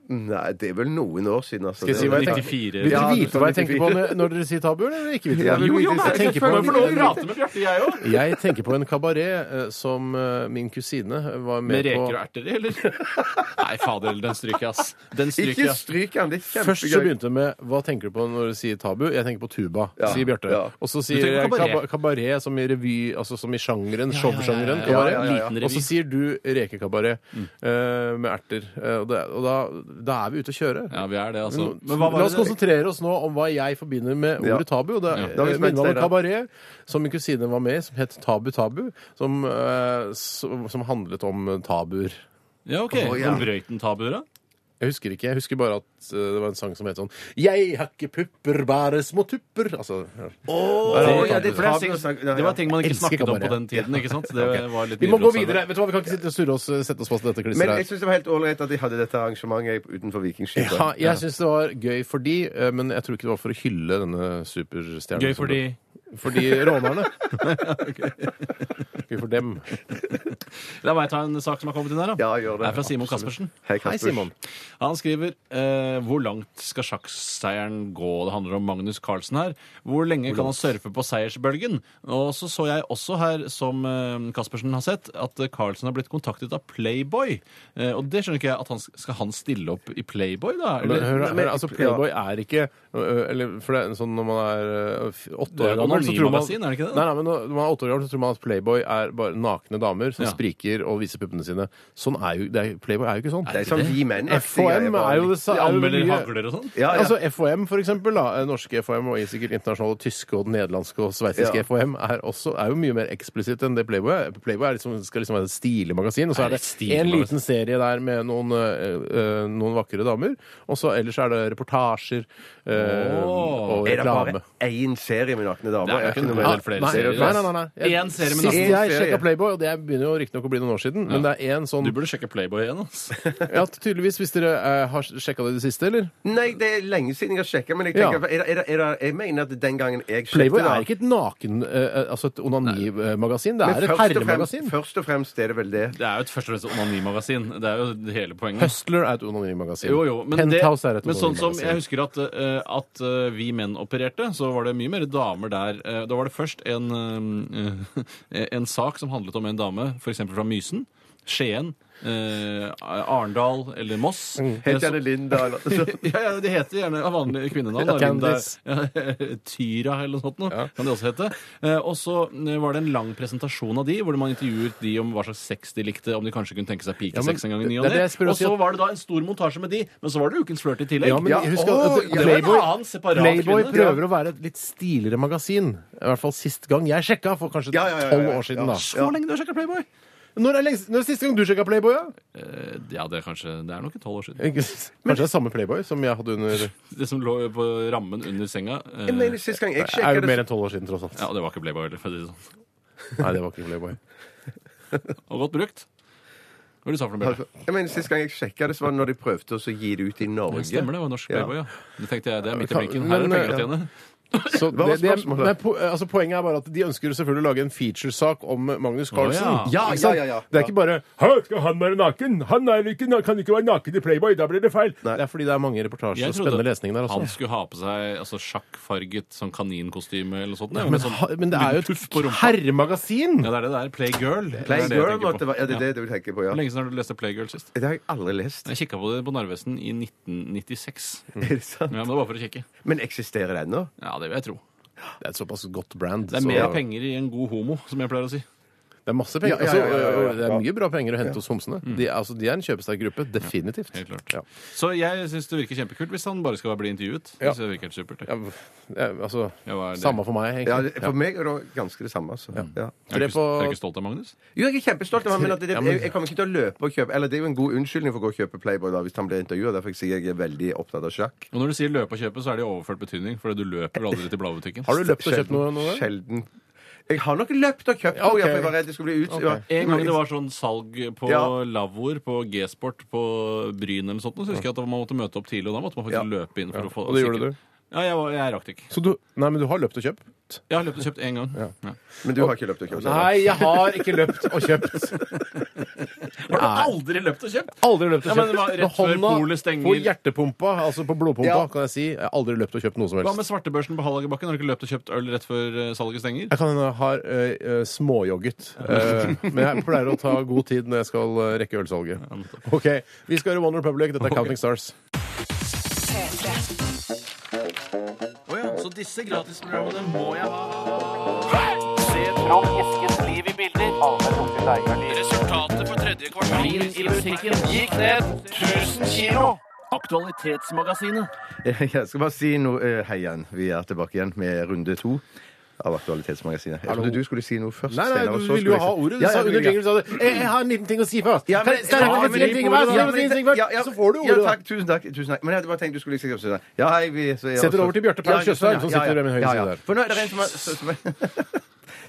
Nei, det er vel noen år siden. Altså. Skal jeg si hva jeg tenker? 94 Vil dere Ja, vite hva jeg tenker på når- når dere sier tabu, eller ikke? Vite Ja, det? jo, jo, men jeg tenker på selvfølgelig, for nå en, prater med Bjarte, jeg òg. jeg tenker på en kabaret eh, som eh, min kusine var med, Med reker og på. erter i, eller? Nei, fader, den stryker jeg, ass. Den stryker Ikke jeg. ass. stryk han, det er kjempegøy. Først så begynte det med 'Hva tenker du på når du sier tabu?' Jeg tenker på tuba, Ja, sier Bjarte. ja. Og så Du sier tenker jeg på kaba- kabaret som i revy, altså som i sjangeren, showsjangeren. ja, ja, kabaret. ja, ja, ja. Liten Og så revy. Mm. sier du rekekabaret eh, med erter. Eh, og det, og da, da er vi ute å kjøre. Ja, vi er det, altså. Men Mm, La oss konsentrere oss nå om hva jeg forbinder med Ja. ordet tabu. Og det er Da har vi eh, smelt minner meg om det, en da. kabaret som min kusine var med i, som het Tabu Tabu. Som, eh, som, som handlet om eh, tabuer. Ja, OK. Å, ja. Om brøyten tabuer, da? Jeg husker ikke, jeg husker bare at eh, det var en sang som het sånn Jeg har ikke pupper, bare små tupper. Altså, ja. Å, ja, det, det er tabu å snakke- ja, ja. det var ting man ikke Elsker snakket om kabaret. på den tiden, ikke sant? Det var litt Vi må gå nybrottsarbeid. videre. Vet du hva, Vi kan ikke sitte og surre oss, eh, sette oss fast i dette Men klisteret jeg her. syns det var helt ålreit at de hadde dette arrangementet utenfor Vikingskipet. Ja, jeg syns det var gøy fordi, eh, men jeg tror ikke det var for å hylle denne superstjernen. Gøy som fordi Fordi rånerne. Gøy for dem. La meg ta en sak som har kommet inn her, da. Ja, gjør det. er fra Simon Absolutt. Caspersen. Hei, Kasper. Han skriver eh, Hvor langt skal sjakkseieren gå? Det handler om Magnus Carlsen her. Hvor lenge kan han surfe på seiersbølgen? Og så så jeg også her, som eh, Caspersen har sett, at eh, Carlsen har blitt kontaktet av Playboy. Eh, og det skjønner ikke jeg. at han, Skal han stille opp i Playboy, da? Men, Eller? hør, Nei, men- hør, altså Playboy er ikke ø, ø, eller, For det er sånn når man er ø, f- åtte Det er år et gammel, så tror man anonymagasin, er det ikke det? Nei, nei, men når når man er åtte år gammel, så tror man at Playboy er bare nakne damer som Ja. spriker og viser puppene sine. Sånn er jo, det er, Playboy er jo ikke sånn. Det er sånn vi menn. FHM er jo det sa- De er jo anmelder mye- hagler og sånn? Ja, ja. Altså FHM, for eksempel. Da, eh, norske FHM og sikkert internasjonale tyske og den nederlandske og sveitsiske Ja. FHM er, også, er jo mye mer eksplisitt enn det Playboy er. Playboy er liksom, skal liksom være et stilig magasin, og så Er er det det stilig en magasin? liten serie der med noen, eh, eh, noen vakre damer, og så ellers er det reportasjer eh, Åh. og Er det reklame. Ah, bare én serie med nakne damer? Det er jo Er ikke ikke noe noe mer. del flere nei, serier. nei, nei, nei. Jeg- Én serie med Sist nakne. jeg En serie. sjekka Playboy, og det begynner jo riktignok å bli noen år siden, men det er én sånn Du burde sjekke Playboy igjen. Altså. ja, Tydeligvis, hvis dere eh, har sjekka det i det siste, eller? Nei, det er lenge siden jeg har sjekka, men jeg, Ja. tenker, er det, er det, er det, jeg mener at den gangen jeg sjekket Playboy da- er ikke et naken, eh, altså et onanimagasin. Det Men er et først og fremst- herremagasin. Først og fremst er det vel det. Det er jo et først og fremst onanimagasin. Det er jo hele poenget. Hustler er et onanimagasin. Jo, jo, men, det, Penthouse er et men sånn som jeg onanimagasin. husker at, eh, at eh, vi menn opererte, så var det mye mer damer der. Eh, da var det først en, eh, eh, en sak som handlet om en dame, f.eks. fra Mysen. Skien, eh, Arendal eller Moss. Eh, Mm. Helt så- gjerne Linda. eller- så- ja, ja, de heter gjerne vanlige kvinnenavn. da. Candice. Linda- Ja, Tyra eller noe sånt noe, kan de også hete. Eh, Og så eh, var det en lang presentasjon av de, hvor man intervjuet de om hva slags sex de likte, om de kanskje kunne tenke seg pikesex men en gang i ny det og er det ne. jeg spør Og å si så at- var det da en stor montasje med de, men så var det Ukens flørt i tillegg. Ja, men Ja, husk at, å, at ja. Det var en Playboy annen separat Playboy kvinne. prøver å være et litt stiligere magasin. I hvert fall sist gang jeg sjekka, for kanskje Ja, ja, ja, ja, ja. tolv år siden. da. Så lenge du har sjekka Playboy! Når er, lengst, når er siste gang du sjekka Playboy? Ja? Eh, Ja, det er kanskje Det er nok tolv år siden. Ikke s- Kanskje det er samme Playboy som jeg hadde under Det som lå på rammen under senga eh, Jeg mener, sist gang jeg Det er sjekket jo mer det enn tolv år siden, tross alt. Ja, det var ikke Playboy heller, for å si det sånn. Nei, det var ikke Playboy. Og godt brukt. Hva var det du sa for noe, Bjarte? jeg mener, sist gang jeg sjekket det, så var det når de prøvde å så gi det ut i Norge. Det stemmer, det var norsk Ja. Playboy, ja. Det tenkte jeg, det er midt i Kan- blinken. Her er det men, penger å ja. tjene. Så Hva var det, det, spørsmålet? men, po- altså, poenget er bare at de ønsker jo selvfølgelig å lage en featuresak om Magnus Carlsen. Å, ja. Ikke sant? Ja, ja, ja, ja. Det er ikke bare «Hæ, skal han være naken? Han er ikke, na- kan ikke være naken i Playboy, da blir det feil. Nei. Det er fordi det er mange reportasjer og spennende lesning der altså. han også. skulle ha på seg altså, sjakkfarget sånn kaninkostyme eller noe sånt. Men, med sånn ha- men det er jo puff på et rumpa. herremagasin! Ja, det er det der. Playgirl. Det er det jeg Playgirl tenker på. måtte være Ja, det er Ja. det du tenker på, ja. Hvor lenge siden har du lest Playgirl sist? Det har jeg aldri lest. Jeg kikka på det på Narvesen i 1996. Er det sant? Ja, men det var for å kikke. Men eksisterer det ennå? Ja, det vil jeg tro. Det er et såpass godt brand. Det er så- mer penger i en god homo, som jeg pleier å si. Det er masse penger. Ja, ja, ja, ja, ja, ja. Altså, det er mye bra penger å hente hos homsene. De, er- altså, de er en kjøpesterk gruppe, definitivt. Helt klart. Ja. Så jeg syns det virker kjempekult hvis han bare skal bli intervjuet. Ja. Hvis det virker helt supert. Ja, ja, altså, Ja, hva er det? samme for meg, Ja, egentlig. det- for meg er det ganske det samme. Altså. Er Ja. du Tre ikke, er du på ikke stolt av Magnus? Jo, jeg er kjempestolt av ham, men, at det, Ja, men- jeg, jeg kommer ikke til å løpe og kjøpe Eller det er jo en god unnskyldning for å gå og kjøpe Playboy da, hvis han blir intervjua. Derfor sier jeg at jeg er veldig opptatt av sjakk. Og når du sier løpe og kjøpe, så er det i overført betydning, fordi du løper aldri til bladbutikken. Har du løpt og kjøpt noe? noe der? Sjelden. Jeg har nok løpt og kjøpt noe, ok. ja, for jeg var redd det skulle bli ut. Ja. En gang det var sånn salg på ja. Ja. lavvoer på G-sport på Bryn eller noe sånt, så husker jeg at man måtte møte opp tidlig, og da måtte man faktisk Ja. løpe inn for å få Og det gjorde sikker- du? Ja, jeg, var- jeg rakk det ikke. Så du, nei, men du har løpt og kjøpt? Jeg har løpt og kjøpt én gang. Ja. Men du har ikke løpt og kjøpt? Nei, jeg har ikke løpt og kjøpt. Har du aldri løpt og kjøpt? Aldri løpt Ja, og men kjøpt. det var rett Med før hånda polet stenger. På hjertepumpa, altså på blodpumpa, Ja. kan jeg si. Jeg har aldri løpt og kjøpt noe som Hva helst. med svartebørsen på Hallagerbakken? Har du ikke løpt og kjøpt øl rett før eh, salget stenger? Jeg kan hende jeg har eh, eh, småjogget. Eh, men jeg pleier å ta god tid når jeg skal eh, rekke ølsalget. OK. Vi skal høre One Republic. Dette er Counting Stars. P3. Så disse gratisprogrammene må jeg ha. Resultatet for tredje kvartal i musikken gikk ned 1000 kilo. Aktualitetsmagasinet. Jeg skal bare si noe. eh, Hei igjen. Vi er tilbake igjen med runde to. Av Aktualitetsmagasinet. Jeg trodde du skulle si noe først. Nei, nei, Steinar, og du så ville jo skulle jeg ha si- ordet. Du Ja, sa jeg under ville- jinglen sa du, «Eh, Jeg har en liten ting å si først. Ja, men- Kan- Steinar, Ja, kan men- jeg si en ting først? Ja, Kan jeg si en ting først?» ja, ja. Så får du Ja, ordet. da. takk. Tusen takk. tusen takk. Men jeg hadde bare tenkt du skulle liksom si det. Ja, hei, vi så jeg Setter også- over til Bjarte Paul Ja, ja, Tjøstheim, ja, som ja, sitter ja. ved min høyre Ja, side ja. her. For nå er det en som er som er-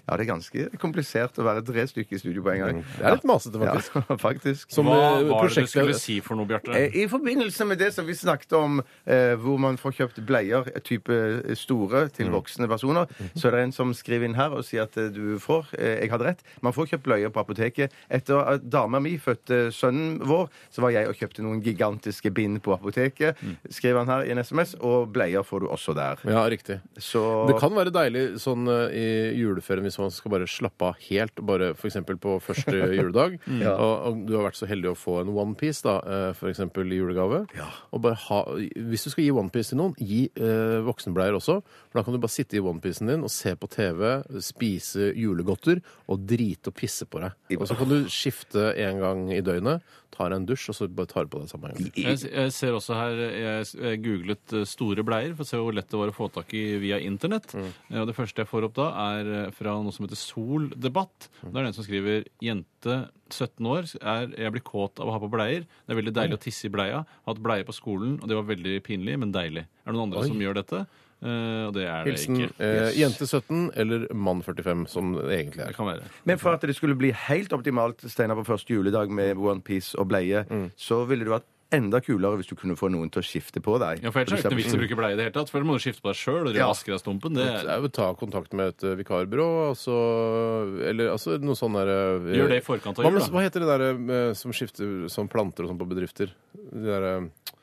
Ja, det er ganske komplisert å være tre stykker i studio på en gang. Det er litt masete, Ja, faktisk. faktisk. Som, Hva eh, var det du prosjektleder- skulle si for noe, Bjarte? Eh, I forbindelse med det som vi snakket om, eh, hvor man får kjøpt bleier, eh, type store, Mm. til voksne personer, Mhm. så er det en som skriver inn her og sier at eh, du får eh, Jeg hadde rett. Man får kjøpt bleier på apoteket. Etter at dama mi fødte sønnen vår, så var jeg og kjøpte noen gigantiske bind på apoteket, Mm. skriver han her i en SMS, og bleier får du også der. Ja, riktig. Så Det kan være deilig sånn eh, i juleferien hvis man skal bare slappe av helt, bare f.eks. på første juledag. og, og du har vært så heldig å få en onepiece, da, eh, for eksempel i julegave. Og bare ha, hvis du skal gi onepiece til noen, gi eh, voksenbleier også. For da kan du bare sitte i onepiecen din og se på TV, spise julegodter og drite og pisse på deg. Og så kan du skifte en gang i døgnet, tar deg en dusj, og så bare tar du på deg samme gang. Jeg, s- jeg ser også her, jeg s- jeg googlet eh, store bleier for å se hvor lett det var å få tak i via internett. Mm. Eh, Og det første jeg får opp da, er eh, fra noe som heter Sol Debatt. Mm. Det er den som skriver jente 17 år, er, jeg blir kåt av å ha på bleier. Det er veldig deilig å tisse i bleia. Hatt bleie på skolen, og det var veldig pinlig, men deilig. Er det noen andre som gjør dette? Eh, og det er det Hilsen ikke. eh, jente 17 eller mann 45, som det egentlig Det er. kan være. Men for at det skulle bli helt optimalt, Steinar, på første juledag med onepiece og bleie, Mm. så ville det vært enda kulere hvis du kunne få noen til å skifte på deg. Ja, for Ellers er det ikke noe vits i å bruke bleie i det hele tatt. For da må du skifte på deg sjøl, og du Ja. vasker av stumpen. Det, Det er jo å ta kontakt med et eh, vikarbyrå, altså, eller altså, noe sånn der eh, Gjør det i forkant av hva, jul, men, da. hva heter det der eh, som skifter som planter og sånn på bedrifter? Det der, eh,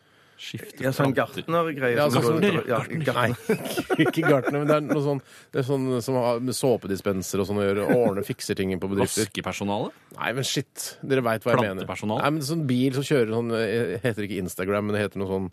Skifte Ja, sånn planter. gartnergreier. Ja, som sånn- går rundt og- ja, gartner. Ikke gartner, men det er noe sånn, det er sånn som har med såpedispenser og sånn å gjøre. og Ordne, fikser ting på bedrifter. Vaskepersonale? Nei, men shit. Dere veit hva jeg mener. Plantepersonal? Nei, men Sånn bil som kjører sånn eh, Heter ikke Instagram, men det heter noe sånn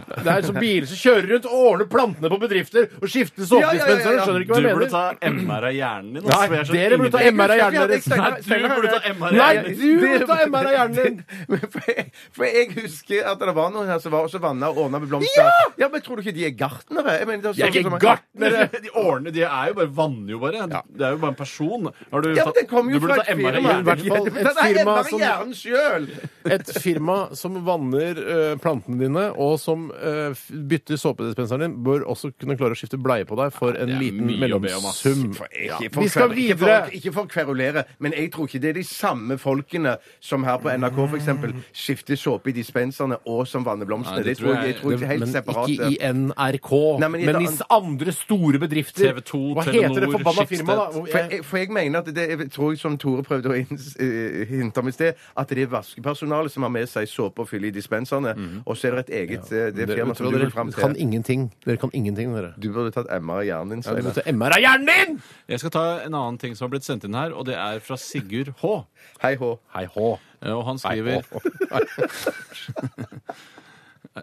Det er sånn biler som kjører runut og ordner plantene på bedrifter og skifter ja, ja, ja. såpedispensere. Skjønner Du ikke hva jeg burde mener. ta MR av hjernen din. altså, Nei, for jeg er så dere burde ta ingenting. MR av hjernen Jeg- jeg- deres. Steinar- Nei, du Steinar- burde ta MR av Nei, hjernen. du burde ta MR av hjernen din. Men For jeg, for jeg husker at det var noen her som var også vanna og ordna med blomster. Ja! Men tror du ikke de er gartnere? Jeg mener, det Jeg er sånn ikke som- gartnere! De ordner, de er jo bare vanner jo bare. Det er jo bare en person. Har du, Ja, men det kommer jo du burde fra ta et MR av firma. I hvert hjernen. fall et Nei, firma MR av som- hjernen sjøl! Et firma som vanner eh, plantene dine, og som eh, f- bytter såpedispenseren din, bør også kunne klare å skifte bleie på deg for en det er liten mye å be om, ass. mellomsum. For- Ja. ikke for Vi skal kver- ikke for- videre. Ikke for å kverulere, men jeg tror ikke det er de samme folkene som her på NRK for eksempel Mm. skifter såpe i dispenserne og som vanner blomstene. Nei, Det tror jeg, jeg tror ikke er helt men separate. ikke i NRK, Nei, men men i i, et annet- s- andre store bedrifter. TV2, Hva heter det Telenor, forbanna Schibsted. firmaet, da? Hvor- For jeg, for jeg mener at det jeg tror jeg som Tore prøvde å inns- eh, hinte om i sted, at det er vaskepersonalet som har med seg såpe og fylle i dispenserne, Mhm. og så er det et eget eh, det Dere- firma vet du som hva, du vil dere fram kan til. ingenting. Dere kan ingenting, dere. Du burde tatt MR i hjernen din, Ja, du Steinar. måtte MR av hjernen din! Jeg skal ta en annen ting som har blitt sendt inn her, og det er fra Sigurd H. Hei hå. Hei hå. Eh, Og han Hei, skriver hå.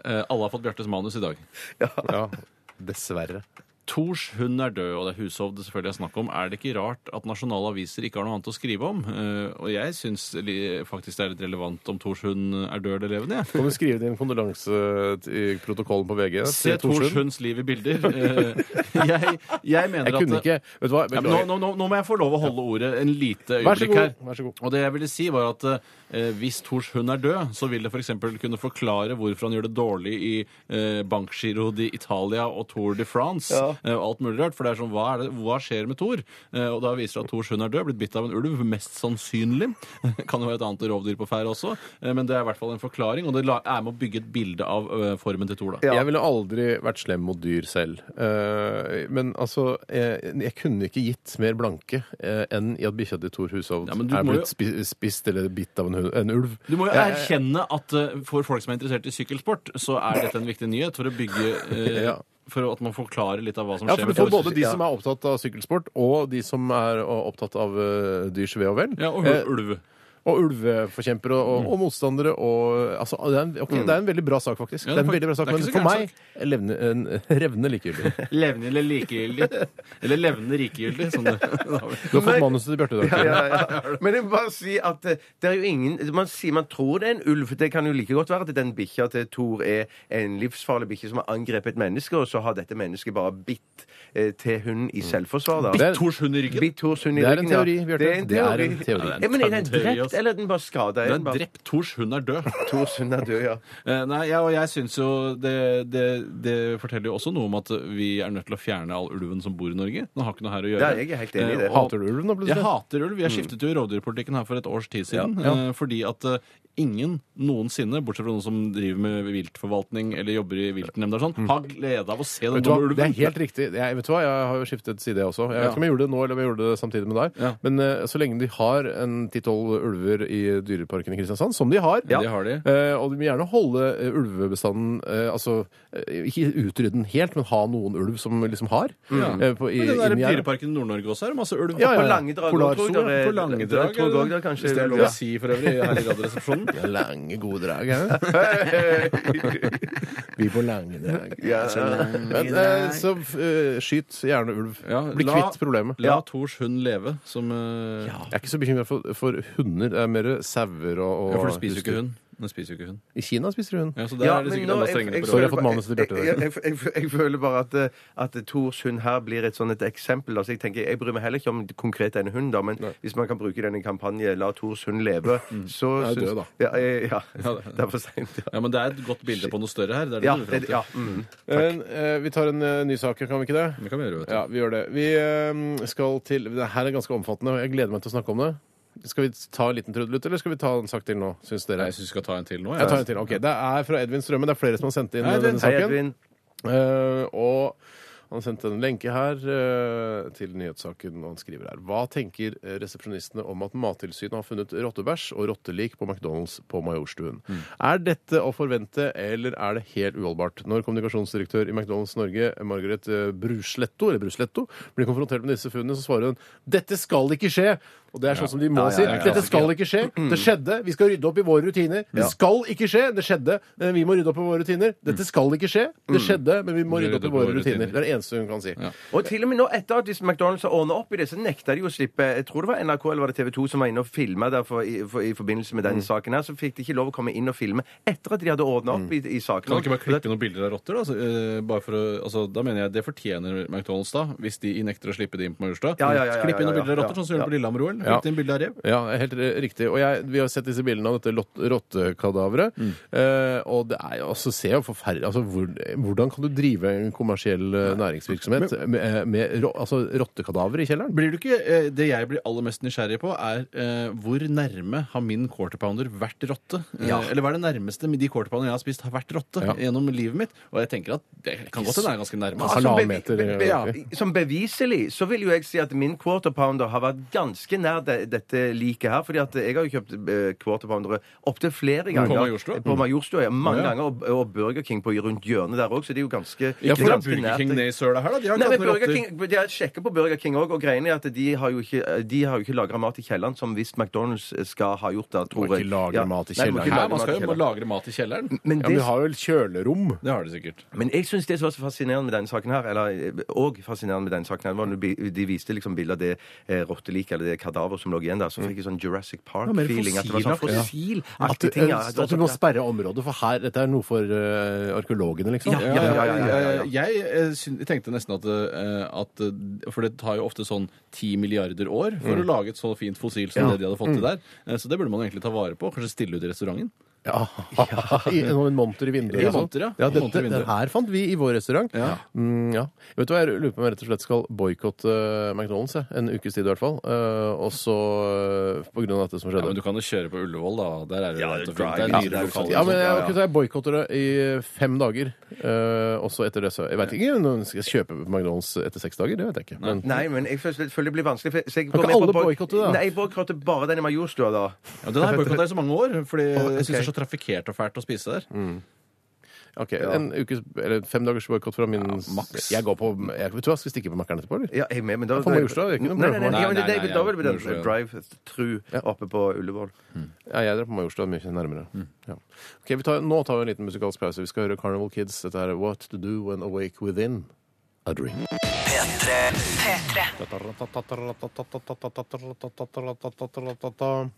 eh, Alle har fått Bjartes manus i dag. Ja, dessverre. Thors hund er død, og det er Hushov det selvfølgelig er snakk om. Er det ikke rart at nasjonale aviser ikke har noe annet å skrive om? Eh, og jeg syns li- faktisk det er litt relevant om Thors hund er død eller levende, jeg. Kan du skrive din kondolanse t- i protokollen på VG? Se til Thors Torsund? hunds liv i bilder. Eh, jeg, jeg mener Jeg at kunne det- ikke Vet du hva? Ja, men nå, nå, nå, nå må jeg få lov å holde ordet en lite Vær så øyeblikk god, her. vær så god. Og det jeg ville si var at eh, hvis Thors hund er død, så vil det f.eks. kunne forklare hvorfor han gjør det dårlig i eh, Bankgiro di Italia og Tour de France eh, og alt mulig rart. For det er sånn, hva, er det, hva skjer med Thor? Eh, og da viser det at Thors hund er død, blitt bitt av en ulv, mest sannsynlig. kan jo være et annet rovdyr på ferde også, eh, men det er i hvert fall en forklaring, og det la- er med å bygge et bilde av eh, formen til Thor, da. Jeg ville aldri vært slem mot dyr selv. Eh, men altså, jeg, jeg kunne ikke gitt mer blanke eh, enn i at bikkja til Thor Hushovd Ja, men du er må blitt spi spist eller bitt av en, hu- en ulv. Du må jo Jeg- erkjenne at eh, for folk som er interessert i sykkelsport, så er dette en viktig nyhet for å bygge eh, Ja. For at man forklarer litt av hva som Ja, skjer. for du med får Thor. både de som er opptatt av sykkelsport, og de som er eh, opptatt av eh, dyrs ve og vel. ja, og Eh, ul- ulv. Og ulveforkjempere og, og, og motstandere og altså, det, er en, Mm. ok, det er en veldig bra sak, faktisk. Ja, det er det en er fak- veldig bra sak, det er Men ikke så for gæren meg levne, en, revne likegyldig. Levende eller likegyldig. Eller levende rikegyldig. Sånn det. Du har fått Men- manuset til Bjarte i dag. Ja, ja, ja. Men jeg må bare si at eh, det er jo ingen Man sier man tror det er en ulv. Det kan jo like godt være at den bikkja til Thor er en livsfarlig bikkje som har angrepet et menneske, og så har dette mennesket bare bitt eh, til hunden Mm. i selvforsvar. da. Det er- Thors hund i ryggen. Bitt Thors hund i Det er en ryggen, ja. teori, Bjarte. Det er en Det er teori. en teori. Ja, men er den drept, eller er den bare skada? Den er drept. Thors hund er død. Thors hund er død, ja. Eh, Nei, ja, og jeg syns jo det, det, det forteller jo også noe om at vi er nødt til å fjerne all ulven som bor i Norge. Den har ikke noe her å gjøre. Ja, jeg er helt enig i Eh, det. og- Hater du ulven da, Jeg plutselig? hater ulv. Jeg skiftet jo rovdyrpolitikken her for et års tid siden. Ja, ja. eh, Fordi at eh, ingen noensinne, bortsett fra noen som driver med viltforvaltning eller jobber i viltnemnda og sånn, har glede av å se den Mm. Vet du dumme hva? Det ulven. er helt riktig. Jeg, vet du hva? jeg har jo skiftet side, jeg også. Jeg vet Ja. ikke om jeg gjorde det nå eller om jeg gjorde det samtidig med deg. Ja. Men eh, så lenge de har en ti-tolv ulver i dyreparken i Kristiansand, som de har, Ja, det har de. eh, og de vil gjerne holde eh, ulvebestanden eh, altså, eh, Ikke utrydde den helt, men ha noen ulv som liksom har. eh, på- i- Mm. Men den der inni gjerdet. dyreparken i Nord-Norge også er det masse ulv. Ja, ja. På lange drag Polarsolen, tror jeg. På lange drag, tror jeg er også det er kanskje Hvis det er lov ja. å si for øvrig her i Radioresepsjonen. Lange, gode drag, hæ? Vi får lange drag. Men, eh, så eh, skyt gjerne ulv. Ja, Bli la- kvitt problemet. La Thors hund leve, som eh, Jeg er ikke så bekymra for, for hunder. Det er mer sauer og, og Ja, for den spiser jo ikke hund. Den spiser jo ikke hund. I Kina spiser de hund. Ja, så der Ja, er det men sikkert nå- enda jeg- strengere jeg- på Sorry, råd. jeg har fått manuset til Bjarte i dag. Jeg, jeg, jeg, jeg føler bare at, eh, at Thors hund her blir et sånn et eksempel. Altså, jeg, tenker, jeg bryr meg heller ikke om konkret denne hunden, da, men hvis man kan bruke den i kampanje 'La Thors hund leve', så Den er syns- død, da. Ja, eh, ja, det er for seint. Ja. Ja, men det er et godt bilde på noe større her. Det er det Ja, du vil frem det, til. ja, mm. Men, eh, vi tar en eh, ny sak, kan vi ikke det? Det kan vi gjøre, vet du. Ja, vi gjør det. Vi eh, skal til Det her er ganske omfattende, og jeg gleder meg til å snakke om det. Skal vi ta en liten trudelutt, eller skal vi ta en sak til nå? Syns dere? Jeg syns vi skal ta en til nå. Jeg tar en til. ok. Det er fra Edvin Strømme. Det er flere som har sendt inn eh, denne Hei, saken. Edvin. Eh, og Han har sendt en lenke her eh, til nyhetssaken, og han skriver her. Hva tenker eh, resepsjonistene om at Mattilsynet har funnet rottebæsj og rottelik på McDonald's på Majorstuen? Er dette å forvente, eller er det helt uholdbart? Når kommunikasjonsdirektør i McDonald's Norge, Margaret eh, Brusletto, eller Brusletto, blir konfrontert med disse funnene, så svarer hun dette skal ikke skje. Og det er sånn som de må Ja, ja, ja, si. Dette skal ikke skje. Det skjedde. Vi skal rydde opp i våre rutiner. Det skal ikke skje. Det skjedde. Eh, Vi må rydde opp i våre rutiner. Dette skal ikke skje. Det skjedde, men Mm. vi må rydde opp i våre rutiner. Det er det eneste hun kan si. Og til og med nå etter at disse McDonald's har ordnet opp i det, så nekta de jo å slippe Jeg tror det var NRK eller var det TV 2 som var inne og filma for, i- for, i forbindelse med Mm. denne saken her. Så fikk de ikke lov å komme inn og filme etter at de hadde ordna opp i, i saken. Kan du Mm. ikke bare klippe noen bilder av rotter? Da, så, eh, bare for å, altså, da mener jeg det fortjener McDonald's, da, hvis de nekter å slippe det inn på Majorstua. Ja, ja, ja, ja, Klipp inn ja, noen ja, bilder av rotter, ja, sånn som de gjør på Lillehammer-OL. Ja. Klipp inn bilde av rev. Ja, helt eh, riktig. Og jeg, vi har sett disse bildene av dette lot- rottekadaveret. Eh, og det er jo altså, ser jo forferdelig altså, hvor, Hvordan kan du drive en kommersiell eh, næringsvirksomhet med, med ro, altså, rottekadaver i kjelleren? Blir du ikke, eh, det jeg blir aller mest nysgjerrig på, er eh, hvor nærme har min quarter pounder vært rotte? Eh, Eller hva er det nærmeste med de quarter pounder jeg har spist, har vært rotte Ja. gjennom livet mitt? Og jeg tenker at det kan godt hende det er ganske nærme. Ja, Altså. som, Halvannen bevi- meter, be, be, ja. som beviselig så vil jo jeg si at min quarter pounder har vært ganske nær de, dette liket her. fordi at jeg har jo kjøpt eh, quarter poundere opptil flere ganger. Majorstua? På Majorstua, ja, mange Å, ja. ganger. Og, og Burger King på rundt hjørnet der òg, så det er jo ganske Ikke det er fra ganske Burger nært. King ned i søla her, da. De har Nei, ikke men hatt noen Burger rotter. King, de har sjekket på Burger King òg, og greiene er at de har jo ikke, de har jo ikke lagra mat i kjelleren, som hvis McDonald's eh, skal ha gjort det. må Tror jeg. ikke lagre Ja. mat i Nei, du må kjelleren. ikke Her, lagre man mat i skal jo kjelleren. lagre mat i kjelleren. Men Ja, men det vi har vel kjølerom? Det har de sikkert. Men jeg syns det som var så fascinerende med denne saken her, eller òg fascinerende med denne saken her, var når bi- de viste liksom bilder av det eh, rotteliket eller det kadaveret som lå igjen der, så fikk jeg sånn Jurassic mer Park-feeling. At det var sånn fossilaktig. At, fossilaktige du- ting. ja. at du må sperre området, for her Dette er noe for eh, arkeologene, liksom. Ja, ja, ja, ja, ja, ja, ja. Jeg eh, syn- tenkte nesten at, eh, at eh, For det tar jo ofte sånn 10 milliarder år for Mm. å lage et så fint fossil som det de hadde fått til der. Eh, Så det burde man egentlig ta vare på. Kanskje stille ut i restauranten. Ja. I, noen monter i vinduet. I og sånn. monter, ja. ja dette, Monter i vinduet. det her fant vi i vår restaurant. Ja. Mm, ja. Vet du hva, Jeg lurer på om jeg rett og slett skal boikotte McDonald's jeg. en ukes tid i hvert fall. Eh, og så eh, på grunn av dette som Ja, skjedde. men du kan jo kjøre på Ullevål, da. Der er det jo Ja, rett og fint. drive-in, Det er det er dyre jo lokaler. sant. Ja, men jeg, Ja, ja. ok, så jeg boikotter det i fem dager. Eh, og så etter det så Jeg vet ikke om jeg skal kjøpe på McDonald's etter seks dager. Det vet jeg ikke. Men, Nei, men jeg føler føler det blir vanskelig. For så jeg Kan ikke går med på alle boy- boykotte, da? Nei, jeg boykotter bare den i Majorstua, da. Ja, den har jeg boikotta i så mange år, fordi jeg syns det ok. er Mm. så trafikkert og fælt å spise der. ok, En ukes, eller fem dagers boikott fra min maks. Jeg går på jeg, Vet du hva, skal vi stikke på Mækkern etterpå, eller? Ja, jeg er med, men da For Majorstua er det ikke noe Nei, problem nei, for meg. nei, ja, men det, Nei, nei, det- da vil det bli nei, den drive-thru oppe på Ullevål. Ja, jeg drar på Majorstua mye nærmere. Ja. Ok, vi tar, Nå tar vi en liten musikalsk pause. Vi skal høre Carnival Kids. Dette er What to do when awake within a dream. P3. P3.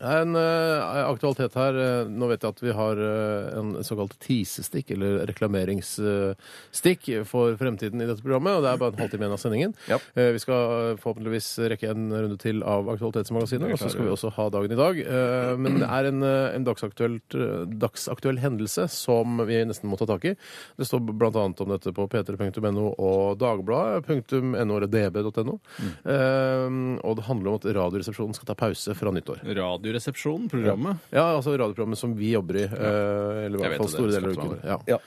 En eh, aktualitet her. eh, nå vet jeg at vi har eh, en såkalt teasestikk, eller reklameringsstikk, for fremtiden i dette programmet. Og det er bare en halvtime igjen av sendingen. Ja. Eh, vi skal forhåpentligvis rekke en runde til av Aktualitetsmagasinet, og så skal vi også ha dagen i dag. Eh, men det er en, eh, en dagsaktuelt, eh, dagsaktuell hendelse som vi nesten må ta tak i. Det står bl.a. om dette på p3.no og dagbladet.no eller db.no. Eh, og det handler om at Radioresepsjonen skal ta pause fra nyttår. Radioresepsjonen, programmet. Ja, altså radioprogrammet som vi jobber i. eh, Eller i Jeg hvert vet fall det, store det deler av skal uken. ta Ja.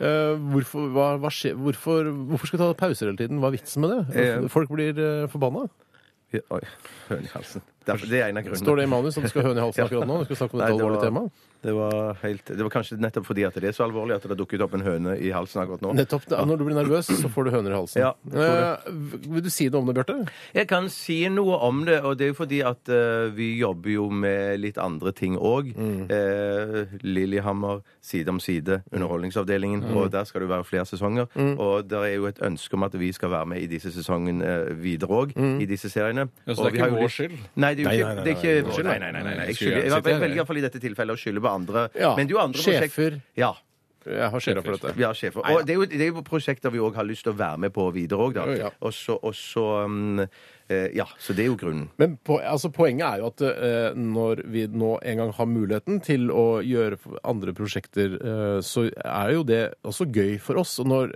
Eh, hvorfor, hva, hva skje, hvorfor, hvorfor skal vi ta pauser hele tiden? Hva er vitsen med det? Eh, Folk blir eh, forbanna. Ja, Oi. Høne i halsen. Derfor- Det er en av grunnene. Står det i manus at du skal ha høne i halsen akkurat nå? Du skal snakke om et Nei, det var- alvorlig tema? Det var, helt, det var kanskje nettopp fordi at det er så alvorlig at det har dukket opp en høne i halsen akkurat nå. Nettopp. da. Når du blir nervøs, så får du høner i halsen. Ja, jeg tror Eh, vil du si noe om det, Bjarte? Jeg kan si noe om det, og det er jo fordi at eh, vi jobber jo med litt andre ting òg. Lillehammer, Side om side, Underholdningsavdelingen, og der skal det jo være flere sesonger. Og det er jo et ønske om at vi skal være med i disse sesongene eh, videre òg, i disse seriene. Ja, så det er Og vi ikke har jo vår litt- skyld? Nei, det er jo Nei, nei, ikke, det er ikke nei, vår skyld. Nei, nei, nei. nei, nei, Jeg, jeg skylder, jeg, sitter her, velger jeg. iallfall i dette tilfellet å skylde på andre. Ja, Men det er jo andre sjefer. prosjekt- Ja. Jeg har skjera for dette. Vi har sjefer. Og det er, jo, det er jo prosjekter vi òg har lyst til å være med på videre òg, da. Ja. Og så, og så um, eh, Ja, så det er jo grunnen. Men po altså, poenget er jo at eh, når vi nå en gang har muligheten til å gjøre f- andre prosjekter, eh, så er jo det også gøy for oss. Og når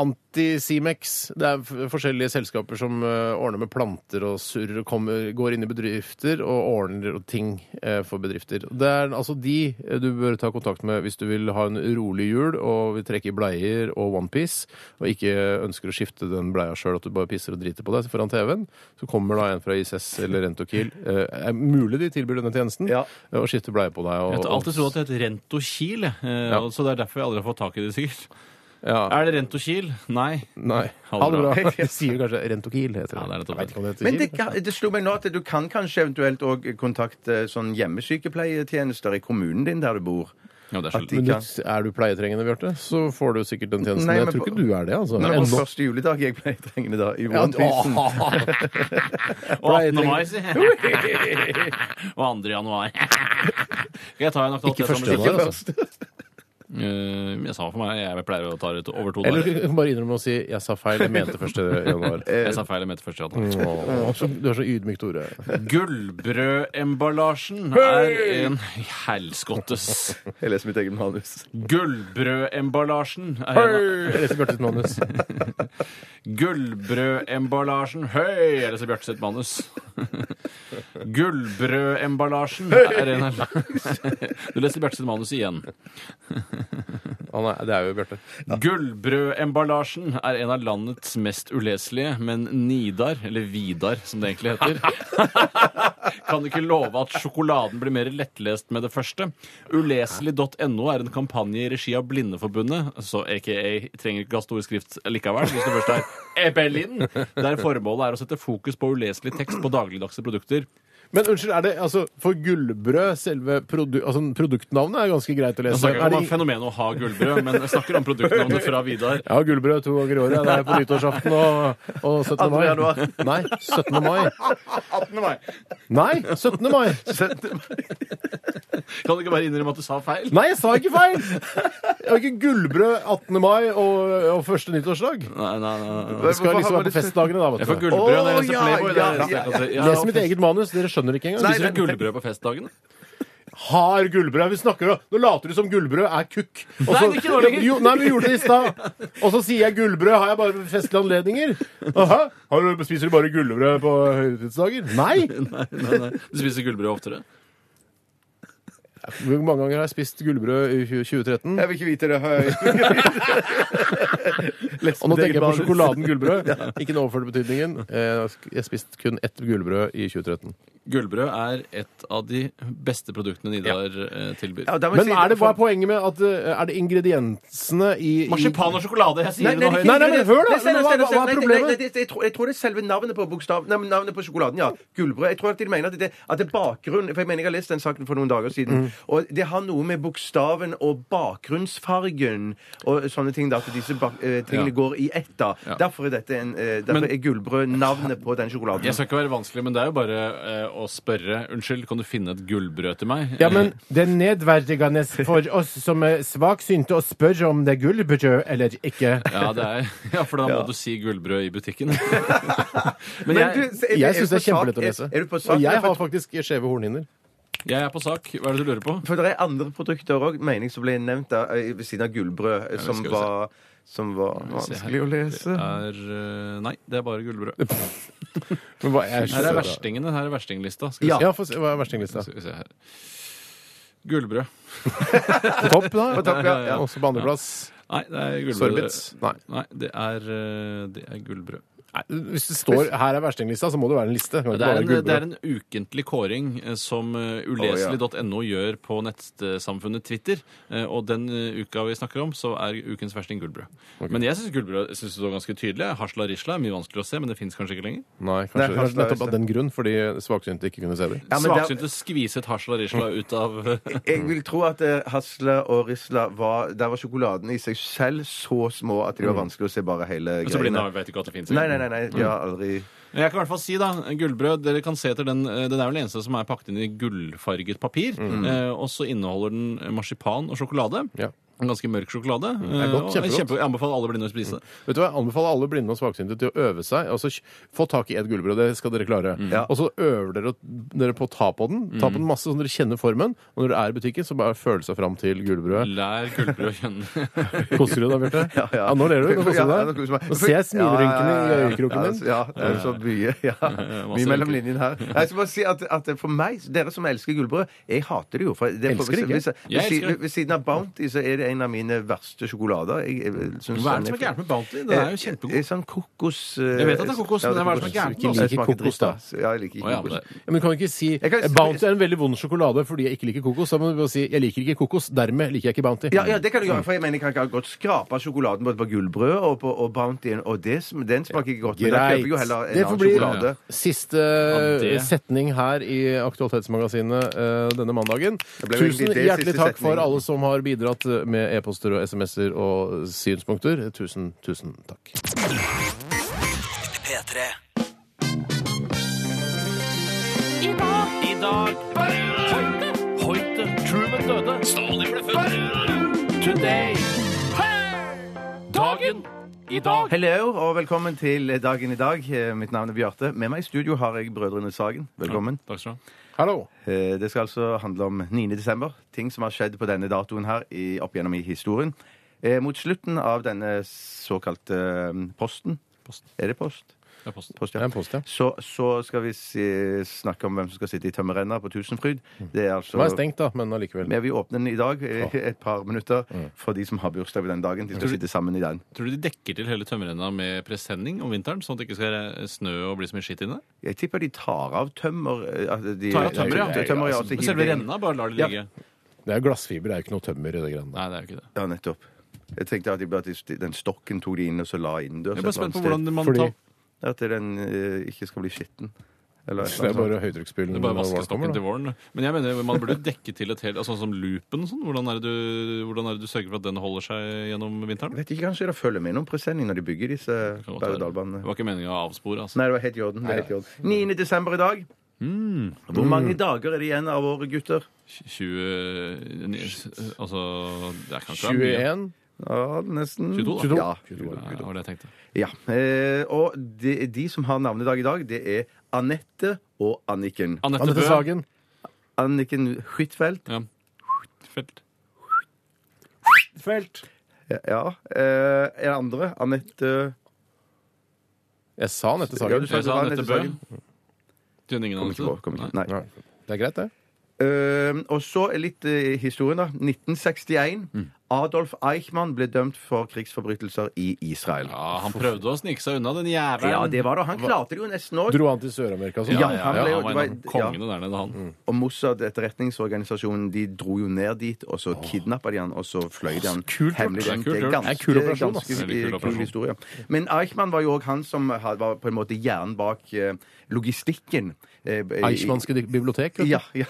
Antisimex Det er f- forskjellige selskaper som eh, ordner med planter og surr og kommer, går inn i bedrifter og ordner ting eh, for bedrifter. Det er altså de eh, du bør ta kontakt med hvis du vil ha en rolig jul og vil trekke i bleier og onepiece, og ikke ønsker å skifte den bleia sjøl, at du bare pisser og driter på deg foran TV-en. Så kommer da en fra ISS eller Rentokil. Eh, er mulig de tilbyr denne tjenesten, Ja. eh, og skifter bleie på deg. Og, Jeg har alltid trodd og- at det het Rentokil, jeg. eh, Ja. og så det er derfor jeg aldri har fått tak i det, sikkert. ja. Er det Rentokil? Nei. Nei. Ha det bra. De sier jo kanskje Rentokil heter det. Ja, det er nettopp Jeg vet ikke om det heter Men det, Kiel. det slo meg nå at du kan kanskje eventuelt òg kontakte sånn hjemmesykepleietjenester i kommunen din der du bor. Ja, det er At sjelden. de Men kan... du- er du pleietrengende, Bjarte, så får du sikkert den tjenesten. Nei, jeg men tror på- ikke du er det, altså. Nå er det Ennå. på første juledag jeg pleietrengende da, i Ja, onepiecen. Og 18. mai, si. Og 2. januar. Skal jeg ta en aktualitet? Ikke første om januar, musikken? altså. Eh, men jeg sa for meg, jeg pleier å ta det til over to Eller dager. du kan bare innrømme å si 'jeg sa feil', jeg mente første januar. Eh. Jeg sa feil, jeg mente første Mm. januar. Åh, så- Du er så ydmyk, Tore. Gullbrødemballasjen er en helskottes. Jeg leser mitt eget manus. Gullbrødemballasjen er en Jeg leser Bjarte sitt manus. Gullbrødemballasjen Høy! Jeg leser Bjarte sitt manus. Gullbrødemballasjen er en Du leser Bjarte sitt manus igjen. Han er, det er jo Bjarte. Gullbrødemballasjen er en av landets mest uleselige, men Nidar, eller Vidar som det egentlig heter, kan ikke love at sjokoladen blir mer lettlest med det første. Uleselig.no er en kampanje i regi av Blindeforbundet, så aka trenger ikke ha stor skrift likevel, hvis det først er Ebelin, der formålet er å sette fokus på uleselig tekst på dagligdagse produkter. Men unnskyld, er det altså For gullbrød, selve produ altså, produktnavnet er ganske greit å Jeg lese. snakker ikke Er om det, fenomenet å ha gullbrød, men jeg snakker om produktnavnet fra Vidar. ja, gullbrød to ganger i året. Det er på nyttårsaften og, og 17. mai. Nei, 17. mai. 18. mai. Nei, 17. mai. Kan du ikke bare innrømme at du sa feil? Nei, jeg sa ikke feil! Jeg har ikke gullbrød 18. mai og, og første nyttårsdag. Nei, nei, nei, nei. Det skal liksom være på festdagene, da. Jeg får vet du. gullbrød når jeg Å, leser ja, Playboy. Det er det ja, eneste jeg kan si. Ja, Les mitt eget manus. Dere skjønner ikke engang. Spiser du gullbrød på festdagene? har gullbrød. Vi snakker om, Nå later du som gullbrød er kukk. Og så- Nei, det er ikke nå lenger. Jo, nei, vi gjorde det i stad. Og så sier jeg gullbrød. Har jeg bare ved festlige anledninger? Aha, har du, spiser du bare gullbrød på høytidsdager? Nei! Nei, nei, nei. Du spiser gullbrød oftere? Hvor mange ganger har jeg spist gullbrød i 20- 2013? Jeg vil ikke vite det. høy. Og nå tenker jeg på manus. sjokoladen gullbrød. Ikke den overførte betydningen. Eh, Jeg spiste kun ett gullbrød i 2013. Gullbrød er et av de beste produktene Nidar eh, tilbyr. Ja, da må jeg Men si- er det, hva er poenget med at eh, Er det ingrediensene i, i Marsipan og sjokolade! Jeg sier det nå det er høyt. Nei, nei, men hør da! Nei, nei, nei, Hva- hva- hva er nei, nei, problemet? nei, det- jeg, tror, jeg tror det er selve navnet på bokstav, nei, men navnet på sjokoladen, ja. Gullbrød. Jeg tror at de mener at det, at det er bakgrunnen For jeg mener jeg har lest den saken for noen dager siden. Mm. Og det har noe med bokstaven og bakgrunnsfargen og sånne ting, da, at disse bak, eh, tingene Ja. går i ett, da. Ja. Derfor er dette en eh, Derfor Men- er gullbrød navnet på den sjokoladen. Jeg skal ikke være vanskelig, men det er jo bare eh, å spørre. Unnskyld, kan du finne et gullbrød til meg? Ja, men det er nedverdigende for oss som er svaksynte å spørre om det er gullbrød eller ikke. Ja, det er, ja, for da må du si gullbrød i butikken. Men Men jeg, du, er- Jeg er syns det du på er sak? kjempelett å lese. Er, er du på sak? Og jeg for, har faktisk skjeve hornhinner. jeg er på sak. Hva er det du lurer på? for det er andre produkter òg, mener jeg, som ble nevnt da, eh, ved siden av gullbrød, eh, som skal vi se. var, som var vanskelig å lese. Er, eh, nei, det er bare gullbrød. Men hva er Her er verstingene. Her er verstinglista. Skal vi Ja. Ja, få se, hva er verstinglista? Skal vi se her. Gullbrød. På topp, da? På topp, ja, ja. Også på andreplass. Nei, det er gullbrød. Sorbets? Nei. Nei, det er, eh, det er gullbrød. Nei, Hvis det står 'her er verstinglista', så må det være en liste. Det kan Det ikke er, bare en, være det er gullbrød. en ukentlig kåring eh, som eh, uleselig.no gjør på nettsamfunnet Twitter. eh, Og den eh, uka vi snakker om, så er ukens versting gullbrød. Men jeg syns gullbrød synes det var ganske tydelig. Hasla risla er mye vanskeligere å se, men det fins kanskje ikke lenger. Nei, Nei, kanskje kanskje det er nettopp av den grunn, fordi svaksynte ikke kunne se dem. Ja, men det- Svaksynte skviset hasla risla ut av Jeg vil tro at eh, Hasla og Risla var Der var sjokoladene i seg selv så små at de var vanskelig å se bare hele Mm. Så blinde greiene. vet ikke at det fins. Nei, nei, nei, nei, de har aldri Men Jeg kan i hvert fall si da, gullbrød, dere kan se etter den, eh, den er vel den eneste som er pakket inn i gullfarget papir, eh, og så inneholder den marsipan og sjokolade. Mm. Ja. En ganske mørk sjokolade. er eh, godt, og kjempegodt. jeg anbefaler alle blinde å spise det. Vet du hva, Jeg anbefaler alle blinde og svaksynte til å øve seg. Altså, kj- Få tak i et gullbrød, det skal dere klare. Mm. Ja. Mm. Og så øver dere, dere på å ta på den. Ta på den masse, sånn dere kjenner formen. Og når dere er i butikken, så bare føle seg fram til gullbrødet. Lær gullbrød å kjenne. Koser du deg, Bjarte? Ja, ja. nå ler du. Nå koser Ja, du nå koser jeg deg. meg. Nå ser jeg smilerynkene Ja, i ja, ja, ja. altså, øyekroken din. Ja, det er så mye. Ja. Mye mellom linjene her. Jeg skal bare si at, at for meg, dere som elsker gullbrød Jeg hater det jo. For det er Elsker det ikke? hvis, hvis, Jeg elsker ved, det. ved siden av Bounty så er det en av mine verste sjokolader. Jeg, jeg, synes Hva er det den som er gærent med Bounty? Den Eh, er jo kjempegod. eh, Sånn kokos eh, Jeg vet at det er kokos, ja, men hva er det som er kokos. gærent med oss? Jeg smaker Kokos, da. dritt, ass. Ja, jeg Eh, liker Å, ja, men kokos. det- Ja, Men kan vi ikke si Jeg kan- eh, Bounty er en veldig vond sjokolade fordi jeg ikke liker kokos. Da må vi bare si jeg liker ikke kokos, dermed liker jeg ikke Bounty. Ja, ja, det kan du gjøre, for jeg mener jeg kan ikke godt skrape sjokoladen både på gullbrød og på og Bountyen, og det, sm- den smaker ikke godt. Men da kjøper jeg jo heller en Det får annen bli sjokolade. siste det- setning her i Aktualitetsmagasinet eh, denne mandagen. ble jo Tusen egentlig det hjertelig siste takk for setningen. alle som har bidratt eh, med e-poster og SMS-er og synspunkter. Tusen, tusen takk. P3. I dag Hoite, Hoite, Truman døde Stalin ble født Today Dagen I dag Hello, og velkommen til dagen i dag. Eh, Mitt navn er Bjarte. Med meg i studio har jeg Brødrene Sagen. Velkommen. Takk skal du ha Hallo. Eh, Det skal altså handle om 9. desember. Ting som har skjedd på denne datoen her i, opp gjennom i historien. Eh, Mot slutten av denne såkalte eh, posten. Er det post? er post. Post, Det er en post, ja. Så, så skal vi si, snakke om hvem som skal sitte i tømmerrenna på Tusenfryd. Mm. Det er altså Den er stengt, da, men allikevel. Men vi åpner den i dag, eh, et par minutter, Mm. for de som har bursdag på den dagen. De skal sitte sammen i den. Tror du de dekker til hele tømmerrenna med presenning om vinteren, sånn at det ikke skal være snø og bli så mye skitt inne? Jeg tipper de tar av tømmer. eh, at De, Tar av tømmer, ja. Det er tømmer, ja, Altså, altså, Men selve hiver det inn. renna bare lar det Ja. ligge? Det er glassfiber, det er jo ikke noe tømmer i det greiene der. Nei, det er jo ikke det. Ja, nettopp. Jeg tenkte at de, at de, den stokken tok de inn og så la innendørs. Jeg er bare et eller annet spent på sted. hvordan man Fordi- tar At den eh, ikke skal bli skitten. Eller et Så det er bare eller annet høytrykksspylen. Det er bare når våren kommer, vaskestokken da. til våren. Men jeg mener man burde dekke til et helt altså, Sånn som loopen og sånn. Hvordan er, det du, hvordan er det du sørger for at den holder seg gjennom sånt. vinteren? Vet ikke, kanskje det følger med noen presenning når de bygger disse Det kan godt være. berg-og-dal-banene. Det var ikke meninga å avspore, altså. Nei, det var helt i orden. Det er helt i orden. 9. desember i dag. Hvor mange dager er det igjen av våre gutter? 20 ni- Altså Det kan ikke være mye. 21. Ja, nesten 22, da. Ja. Nei, det var det jeg tenkte. ja. Eh, og de, de som har navnedag i dag, det er Anette og Anniken. Anette Anette Bøe. Sagen. Anniken Huitfeldt. Ja. Felt. Felt. Ja. Eh, en andre. Anette Jeg sa Anette Ja, Sagen. du sa- Jeg sa Anette Anette Bøe. Sagen. Kjenner ingen Kom ikke på. Kom Anette? ikke. Nei. Nei. Det er greit, det. Eh, og så litt eh, historien, da. 1961. Adolf Eichmann ble dømt for krigsforbrytelser i Israel. Ja, han prøvde å snike seg unna, den Ja, jævelen. det var det. Han klarte det jo nesten òg. Dro han til Sør-Amerika og sånn? Ja, ja, han ja, ble jo- han var en av det var- ja. Mm. kongene der nede, han. Og Mossad, etterretningsorganisasjonen, de dro jo ned dit, og så kidnappa de han, og så fløy de han kult gjort. hemmelig rundt. Det er kult gjort. ganske, Det er kul operasjon, ass. ganske Veldig kul kul operasjon. historie. Men Eichmann var jo òg han som had- var på en måte hjernen bak eh, logistikken. eh, i- Eichmannske di- bibliotek? vet du. Ja, ja.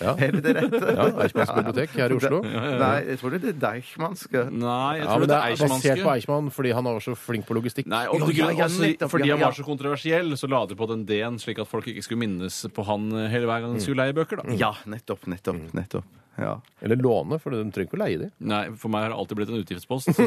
Ja. Er det det rette? Ja, Eichmanns bibliotek her i Oslo. Nei, jeg tror det er Deichmanske. Nei, jeg Ja, men tror det det er er basert på Eichmannske. Eichmann fordi han var så flink på logistikk. Nei, og Ja, på ja, grunn- ja, også, nettopp, Fordi ja, han var så ja. kontroversiell, så la de på den D-en, slik at folk ikke skulle minnes på han eh, hele hver gang de skulle leie bøker. da. Mm. Ja, nettopp, nettopp, Mm. nettopp. Ja. Eller låne, for de trenger ikke å leie de. Nei, For meg har det alltid blitt en utgiftspost.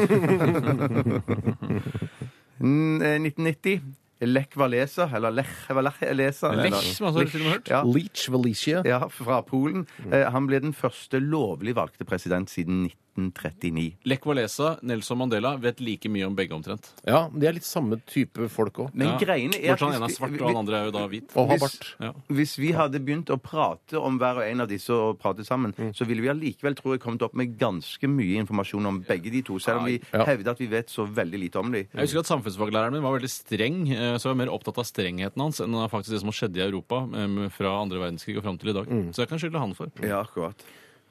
Nei, N- eh, 1990. Lech Walesa, eller Lech Walesa. Lech, som jeg også til og med har hørt. Ja. Leach Valicia. Ja, fra Polen. Mm. Eh, Han ble den første lovlig valgte president siden 1939. Lech Walesa, Nelson Mandela vet like mye om begge omtrent. Ja, men de er litt samme type folk òg. Men Ja. greiene er Bortsett fra han ene er hvis vi- svart, og han andre er jo da hvit. Og har Hvis- bart. Ja. Hvis vi hadde begynt å prate om hver og en av disse og prate sammen, Mm. så ville vi allikevel tror jeg kommet opp med ganske mye informasjon om begge de to, selv om vi Ja. hevder at vi vet så veldig lite om de. Jeg husker at Samfunnsfaglæreren min var veldig streng, eh, så jeg var mer opptatt av strengheten hans enn av faktisk det som skjedde i Europa eh, fra andre verdenskrig og fram til i dag. Så jeg kan skylde han for. Mm. Ja, akkurat.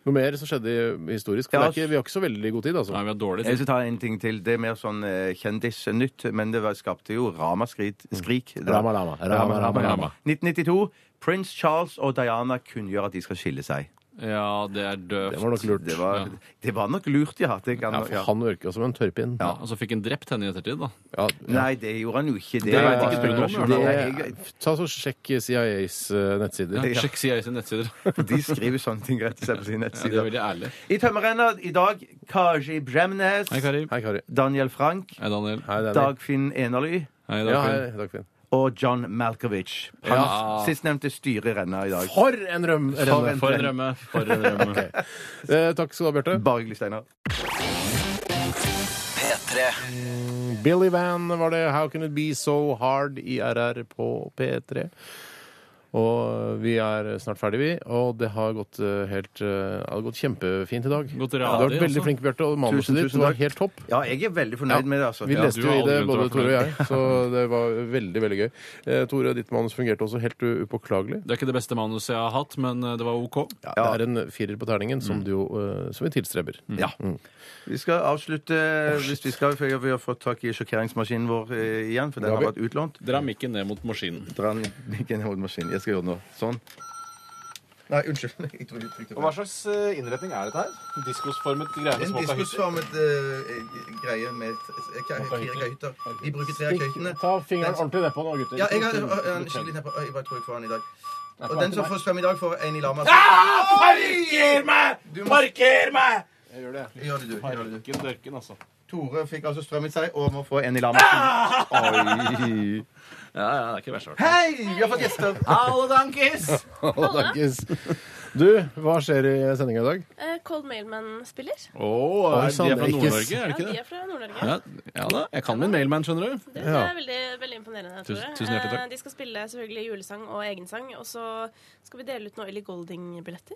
Noe mer som skjedde i- historisk. For Ja, det er ikke, vi har ikke så veldig god tid, altså. Nei, vi har dårlig Jeg tid. skal ta en ting til. Det er mer sånn eh, kjendisnytt, men det var, skapte jo ramaskrik. Mm. Skrik, Det- Rama, rama, rama, rama, rama. 1992. Prins Charles og Diana kunngjør at de skal skille seg. Ja, det er Det døvt. var nok lurt. Det var, Ja. det var nok lurt, ja. Det kan, Ja, ja. for han virka som en tørrpinn. Ja, og så fikk han drept henne i ettertid, da. Ja, Nei, det gjorde han jo ikke. Det, Det var vet ikke du noe om, spekulasjon. Bjørnar. Nei, jeg- det, ta så Sjekk CIAs eh, nettsider. Ja, sjekk CIA sine nettsider. De skriver sånne ting rett og slett på sine Ja, det er nettsider. veldig ærlig. I Tømmerrenna i dag Kaji Bremnes, Hei, Kari. Hei, Kari. Daniel Frank, Hei, Daniel. Hei, Danny. Dagfinn Enerly Hei, Ja, Dagfinn. hei, Dagfinn. og John Malkovich. Han Ja. sistnevnte styrer renna i dag. For en røm! For en- rømme. For en drømme. For en drømme. Eh, takk skal du ha, Bjarte. Bare hyggelig, Steinar. P3. Billy Van var det How Can It Be So Hard i RR på P3. Og vi er snart ferdig, vi. Og det har gått eh, helt eh, det har gått kjempefint i dag. Gått du radig, har vært altså. veldig flink, Bjarte, og manuset Tusen, ditt tusen var takk. helt topp. Ja, jeg er veldig fornøyd med det, altså. Vi Ja. leste du har jo i det, aldri grunn til å både Tore være og jeg, så det var veldig veldig gøy. Eh, Tore, ditt manus fungerte også helt u- upåklagelig. Det er ikke det beste manuset jeg har hatt, men eh, det var OK. Det er en firer på terningen, som, du, jo, eh, som vi tilstreber. Ja. Vi skal avslutte hvis vi skal, for jeg- vi har fått tak i sjokkeringsmaskinen vår eh, igjen, for den Ja, har vi- vært utlånt. Dra mikken ned mot maskinen. Dra den ikke ned mot maskinen. Jeg skal gjøre det nå. Sånn. Nei, unnskyld. Jeg tror de trykte på. slags innretning er dette her? Diskosformet greie En diskusformet eh, greie med t- k- fire køyter. De bruker tre av køytene. Ta fingeren ordentlig nedpå nå, gutter. Ja, jeg har jeg har en skikkelig nedpå. Jeg bare tror jeg får den i dag. Og den som får Ah! strøm i dag, får en i lama. Parker meg! Du må- Parker meg! Gjør det, du. Gjør det, du. Ikke dørken, altså. Tore fikk altså strøm i seg og må få en i lama. Oi. Ja, ja, det er ikke verst. Ah! Hei! Vi har fått gjester! Alle dankis! Alle dankes. Du, hva skjer i sendinga i dag? Eh, Cold Mailman spiller. Oh, Oi, er, sann, de er fra det er ikke- Nord-Norge, er Ja, det ikke de det? er fra Nord-Norge. Ja, ja da. Jeg kan min mailman, skjønner du. Det Ja. er veldig, veldig imponerende. Tore. Tusen- tusen hjertelig takk. Eh, De skal spille selvfølgelig julesang og egensang. Og så skal vi dele ut noen Ellie Golding-billetter.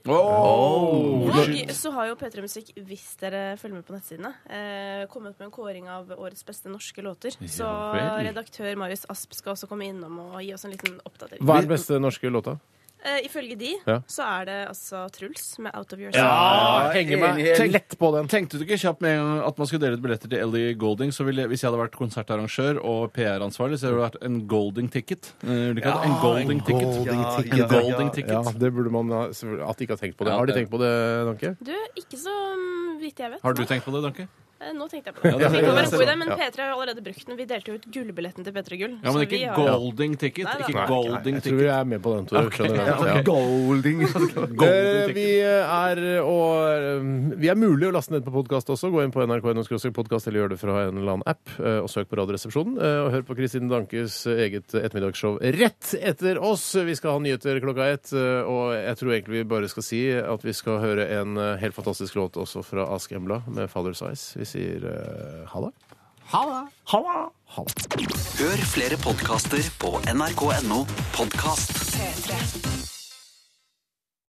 Oh. Og så har jo P3 Musikk, hvis dere følger med på nettsidene, eh, kommet med en kåring av årets beste norske låter. Så Ja vel. redaktør Marius Asp skal også komme innom og gi oss en liten oppdatering. Hva er den beste norske låta? Eh, ifølge de Ja. så er det altså Truls med Out of Your Ja, henger meg. Tenk lett på den. Tenkte du ikke kjapt med en gang at man skulle dele ut billetter til Ellie Golding? Så ville, hvis jeg hadde vært konsertarrangør og PR-ansvarlig, så hadde det vært en Golding ticket. Eh, ville det ikke hatt en Golding ticket. Ja, ticket. En Golding ja. ticket. Ja, det burde man ha, selvfølgelig, At de ikke har tenkt på det. Ja, Har de det- tenkt på det, Danke? Du, ikke så mm, vidt jeg vet. Har du tenkt på det, Danke? Eh, Nå tenkte jeg på det. det- det, kan være det- en god idé, men ja. P3 har jo allerede brukt den. Vi delte jo ut gullbilletten til P3 Gull. Ja, så men vi ikke har- Golding ticket. Nei, nei. Ikke Jeg Golding tror ticket. jeg er med på den. Tore. Skjønner du? Ja. Golding. Golden Eh, Vi er, og, eh, vi er mulig å laste ned på podkast også. Gå inn på nrk.no podkast eller gjør det fra en eller annen app, eh, og søk på Radioresepsjonen. eh, Og hør på Kristin Dankes eget ettermiddagsshow rett etter oss. Vi skal ha nyheter klokka ett, eh, og jeg tror egentlig vi bare skal si at vi skal høre en eh, helt fantastisk låt også fra Ask Embla med 'Father's Eyes'. Vi sier eh, ha det. Ha det. Hør flere podkaster på nrk.no podkast. P3.